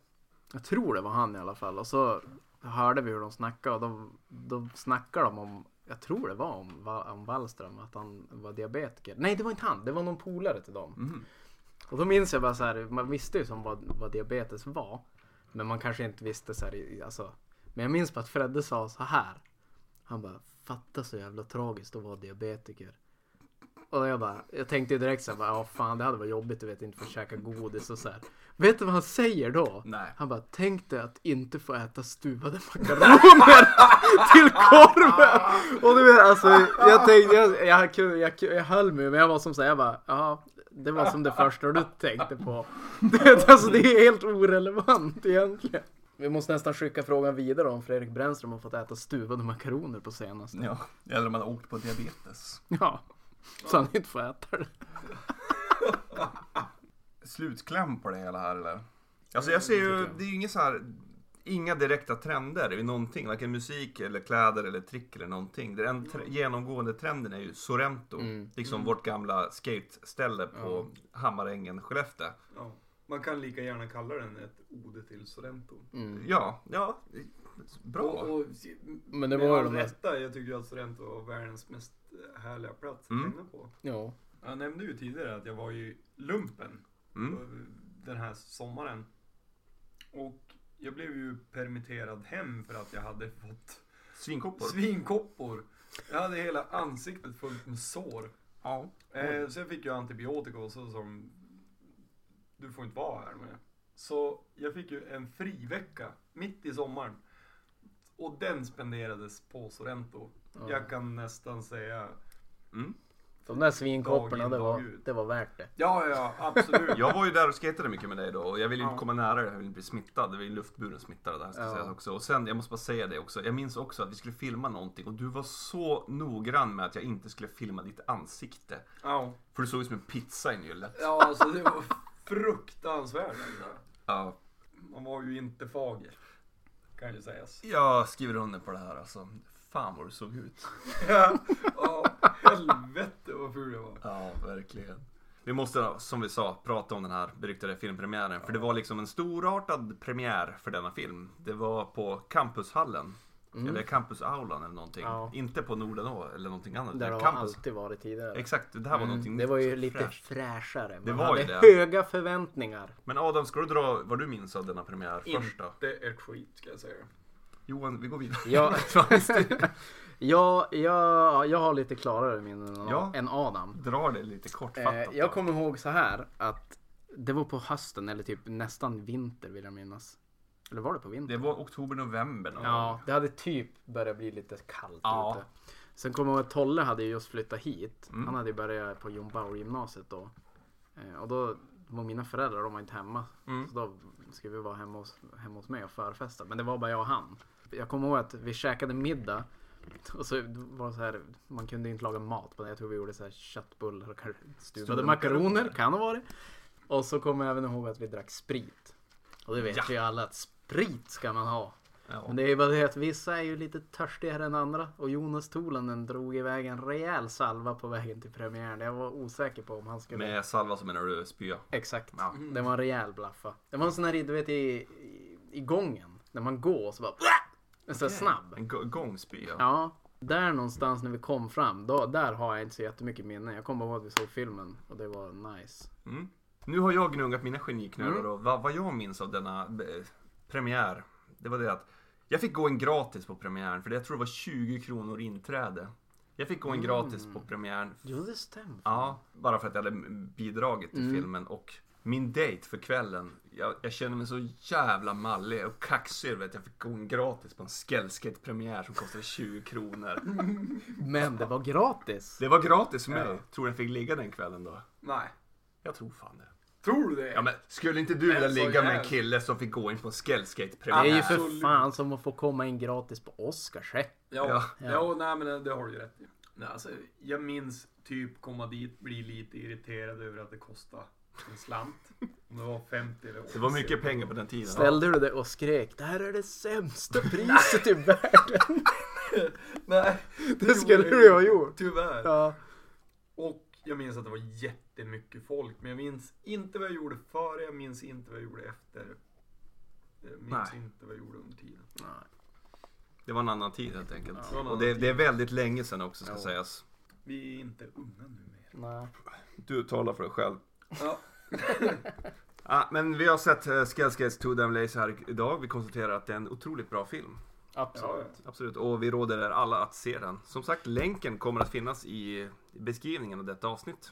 S3: Jag tror det var han i alla fall. Och så hörde vi hur de snackade och då, då snackade de om, jag tror det var om, Va- om Wallström, att han var diabetiker. Nej, det var inte han. Det var någon polare till dem. Och då minns jag bara så här, man visste ju som vad, vad diabetes var. Men man kanske inte visste så här, i- i- alltså. Men jag minns bara att Fredde sa så här. Han bara, fatta så jävla tragiskt att vara diabetiker. Och jag bara, jag tänkte ju direkt så här, bara, ja fan det hade varit jobbigt du vet inte få käka godis och så här. Vet du vad han säger då?
S1: Nej.
S3: Han bara, tänk dig att inte få äta stuvade makaroner [LAUGHS] till korven. Och du vet alltså, jag tänkte, jag, jag, kunde- jag, kunde- jag höll mig men jag var som såhär, jag bara, ja det var som det första du tänkte på. [LAUGHS] Det, alltså det är helt orelevant egentligen. Vi måste nästan skicka frågan vidare om Fredrik Brännström har fått äta stuvade makaroner på senaste.
S1: Ja, eller om man har åkt på diabetes.
S3: [LAUGHS] Ja, så han inte får äta det.
S1: Slutkläm på det hela här eller? Alltså jag ser ju,
S3: tycker jag.
S1: det är ju inga så här, inga direkta trender i någonting. Varken musik eller kläder eller trick eller någonting. Den tre- genomgående trenden är ju Sorrento. Liksom vårt gamla skateställe på Hammarängen, Skellefteå.
S2: Ja. Man kan lika gärna kalla den ett ode till Sorrento.
S3: Mm.
S1: Ja, ja, bra.
S2: Och, och,
S3: Men det
S2: med
S3: var ju
S2: all
S3: de där-
S2: rätta, jag tycker ju att Sorrento var världens mest härliga plats att hänga på.
S3: Ja.
S2: Jag nämnde ju tidigare att jag var i lumpen
S1: Mm.
S2: eh, den här sommaren. Och jag blev ju permitterad hem för att jag hade fått
S1: Svinkoppor.
S2: svinkoppor. Jag hade hela ansiktet fullt med sår.
S1: ja.
S2: Eh, så jag fick ju antibiotika och så som du får inte vara här med. Så jag fick ju en frivecka mitt i sommaren. Och den spenderades på Sorrento. Jag kan nästan säga
S1: Mm.
S3: De där svinkopporna,
S2: Dag in,
S3: det
S2: dag
S3: var,
S2: ut.
S3: det var värt det.
S2: Ja, ja, absolut.
S1: Jag var ju där och skatade mycket med dig då och jag ville inte
S2: Ja.
S1: komma nära dig, jag ville bli smittad. Det var ju luftburen smitta det där ska
S3: Ja.
S1: sägas också. Och sen, jag måste bara säga det också. Jag minns också att vi skulle filma någonting och du var så noggrann med att jag inte skulle filma ditt ansikte.
S2: [LAUGHS] Ja.
S1: För du såg ut som en pizza i nyllet.
S2: Ja, alltså det var fruktansvärt. alltså.
S1: Ja.
S2: Man var ju inte fager. Kan ju sägas.
S1: Jag skriver under på det här alltså. Fan vad du såg ut.
S2: Ja, helvete vad ful jag var.
S1: Ja, verkligen. Vi måste, som vi sa, prata om den här beryktade filmpremiären. För det var liksom en storartad premiär för denna film. Det var på Campushallen
S3: Mm.
S1: Eller campusaulan eller någonting.
S3: Ja.
S1: Inte på Nordenå eller någonting annat.
S3: Där
S1: utan
S3: har
S1: campus.
S3: alltid varit tidigare.
S1: Exakt, det här var någonting
S3: Mm. Det var ju
S1: nytt,
S3: lite
S1: fräscht.
S3: fräschare. Man
S1: Det var ju
S3: hade
S1: det. [LAUGHS]
S3: höga förväntningar.
S1: Men Adam, ska du dra vad du minns av denna premiär först då?
S2: Inte ett skit ska jag säga.
S1: Johan, vi går vidare.
S3: Ja. [LAUGHS] Ja, jag, jag har lite klarare minnen än-
S1: Ja.
S3: än Adam.
S1: [LAUGHS] Dra det lite kortfattat.
S3: Eh, jag
S1: då.
S3: kommer ihåg så här att det var på hösten eller typ nästan vinter vill jag minnas. Eller var det på vinter?
S1: Det var oktober, november någon gång.
S3: Ja, det hade typ börjat bli lite kallt
S1: Ja. Mm.
S3: ute. Sen kommer jag ihåg att Tolle hade ju just flyttat hit. Han hade ju börjat på John Bauer-gymnasiet då. Eh, Och då var mina föräldrar, de var inte hemma.
S1: Mm.
S3: Så då skulle vi vara hemma hos, hemma hos mig och förfesta. Men det var bara jag och han. Jag kommer ihåg att vi käkade middag. Och så var det så här, man kunde ju inte laga mat på det. Jag tror vi gjorde så här köttbullar och kanske stuvade
S1: Stora
S3: makaroner,
S1: makaroner.
S3: kan ha varit. Och så kommer jag även ihåg att vi drack sprit. Och det vet
S1: Ja.
S3: ju alla att sprit ska man ha.
S1: Ja.
S3: Men det är ju bara det att vissa är ju lite törstigare än andra och Jonas Tolanen drog iväg en rejäl salva på vägen till premiären. Jag var osäker på om han skulle...
S1: Med salva som menar du spya.
S3: Exakt.
S1: Ja.
S3: Det var en rejäl blaffa. Det var en sån här, du vet i, i, i gången. När man går och så bara... En sån här snabb.
S1: En g- gångspya.
S3: Ja. Där någonstans när vi kom fram, då, där har jag inte så jättemycket minnen. Jag kommer ihåg att vi såg filmen och det var nice.
S1: Mm. Nu har jag gnuggat mina geniknölar och vad, vad jag minns av denna eh, premiär, det var det att jag fick gå in gratis på premiären för det jag tror det var 20 kronor inträde. Jag fick gå in gratis på premiären,
S3: Jo, det stämmer.
S1: ja, bara för att jag hade bidragit till filmen och min dejt för kvällen, jag, jag kände mig så jävla mallig och kaxig över att jag fick gå in gratis på en skellskate premiär som kostade 20 kronor.
S3: Men det var gratis.
S1: Det var gratis för mig. Tror jag fick ligga den kvällen då?
S2: Nej.
S1: Jag tror fan det.
S2: Tror du det?
S1: Ja men skulle inte du vilja
S2: Men så
S1: ligga med en
S2: jävla-
S1: kille som fick gå in på en skellskate
S3: Det är ju
S1: premiär?
S3: för
S2: Absolut.
S3: fan som att få komma in gratis på Oscarset.
S2: Ja,
S1: Ja.
S2: ja. nej men det har du ju rätt i. Nej, alltså, jag minns typ komma dit, bli lite irriterad över att det kostade en slant. Om det var 50 eller 80.
S1: Det var mycket pengar på den tiden.
S3: Ställde du dig och skrek det här är det [LAUGHS] sämsta priset i världen.
S2: Nej,
S3: Det skulle du ju ha gjort.
S2: Tyvärr.
S3: [LAUGHS] Ja.
S2: Och jag minns att det var jättemycket folk. Men jag minns inte vad jag gjorde före, jag minns inte vad jag gjorde efter. Jag minns
S1: Nej.
S2: inte vad jag gjorde under tiden.
S1: Det var en annan tid helt enkelt.
S2: det var en
S1: Och det,
S2: annan
S1: det är väldigt länge sedan också ska
S3: Ja.
S1: sägas.
S2: Vi är inte unga numera.
S3: Nej.
S1: Du talar för dig själv.
S2: Ja.
S1: Ah, men vi har sett uh, Skellskates To Damn Lazy här idag. Vi konstaterar att det är en otroligt bra film.
S3: Absolut.
S1: Absolut, och vi råder er alla att se den. Som sagt, länken kommer att finnas i beskrivningen av detta avsnitt.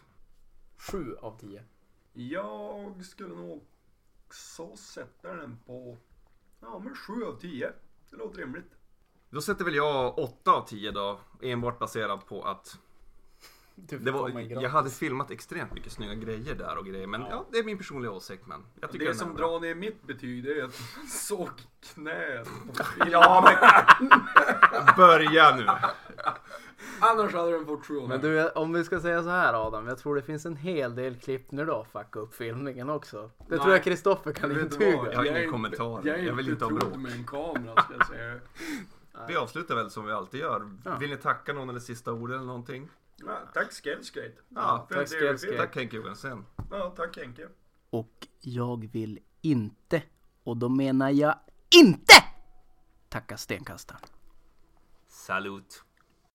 S3: Sju av tio.
S2: Jag skulle nog också sätta den på ja, men 7 av 10. Det låter rimligt.
S1: Då sätter väl jag 8 av 10 då, enbart baserat på att Det var, jag hade filmat extremt mycket snygga grejer där och grejer, men ja. det är min personliga åsikt. Men jag tycker
S2: Det
S1: den är
S2: som
S1: bra.
S2: drar ner mitt betyg det är att man [LAUGHS] såg knät på [LAUGHS] filmen.
S1: Ja, men [LAUGHS] börja nu.
S2: [LAUGHS] Annars hade den fått 7 av
S3: Men
S2: 10.
S3: du, om vi ska säga så här Adam, jag tror det finns en hel del klipp när du har fuckat upp filmningen också. Det tror
S2: Nej.
S3: jag Kristoffer kan
S2: Vet du vad?
S3: intyga.
S1: Jag har
S2: är
S1: ingen
S2: inte-
S1: kommentar.
S2: Jag, är
S1: Jag vill inte ha
S2: trodd
S1: bråk.
S2: med en kamera ska jag säga.
S1: Vi avslutar väl som vi alltid gör.
S3: Ja.
S1: Vill ni tacka någon eller sista orden eller någonting?
S2: Ja, tack Skellskate.
S1: Ja,
S2: För en
S3: tack,
S2: trevlig
S3: Skellskate.
S2: film.
S1: Tack Henke Johansen.
S2: Ja, tack Henke.
S3: Och jag vill inte, och då menar jag INTE, tacka stenkastaren.
S1: Salut.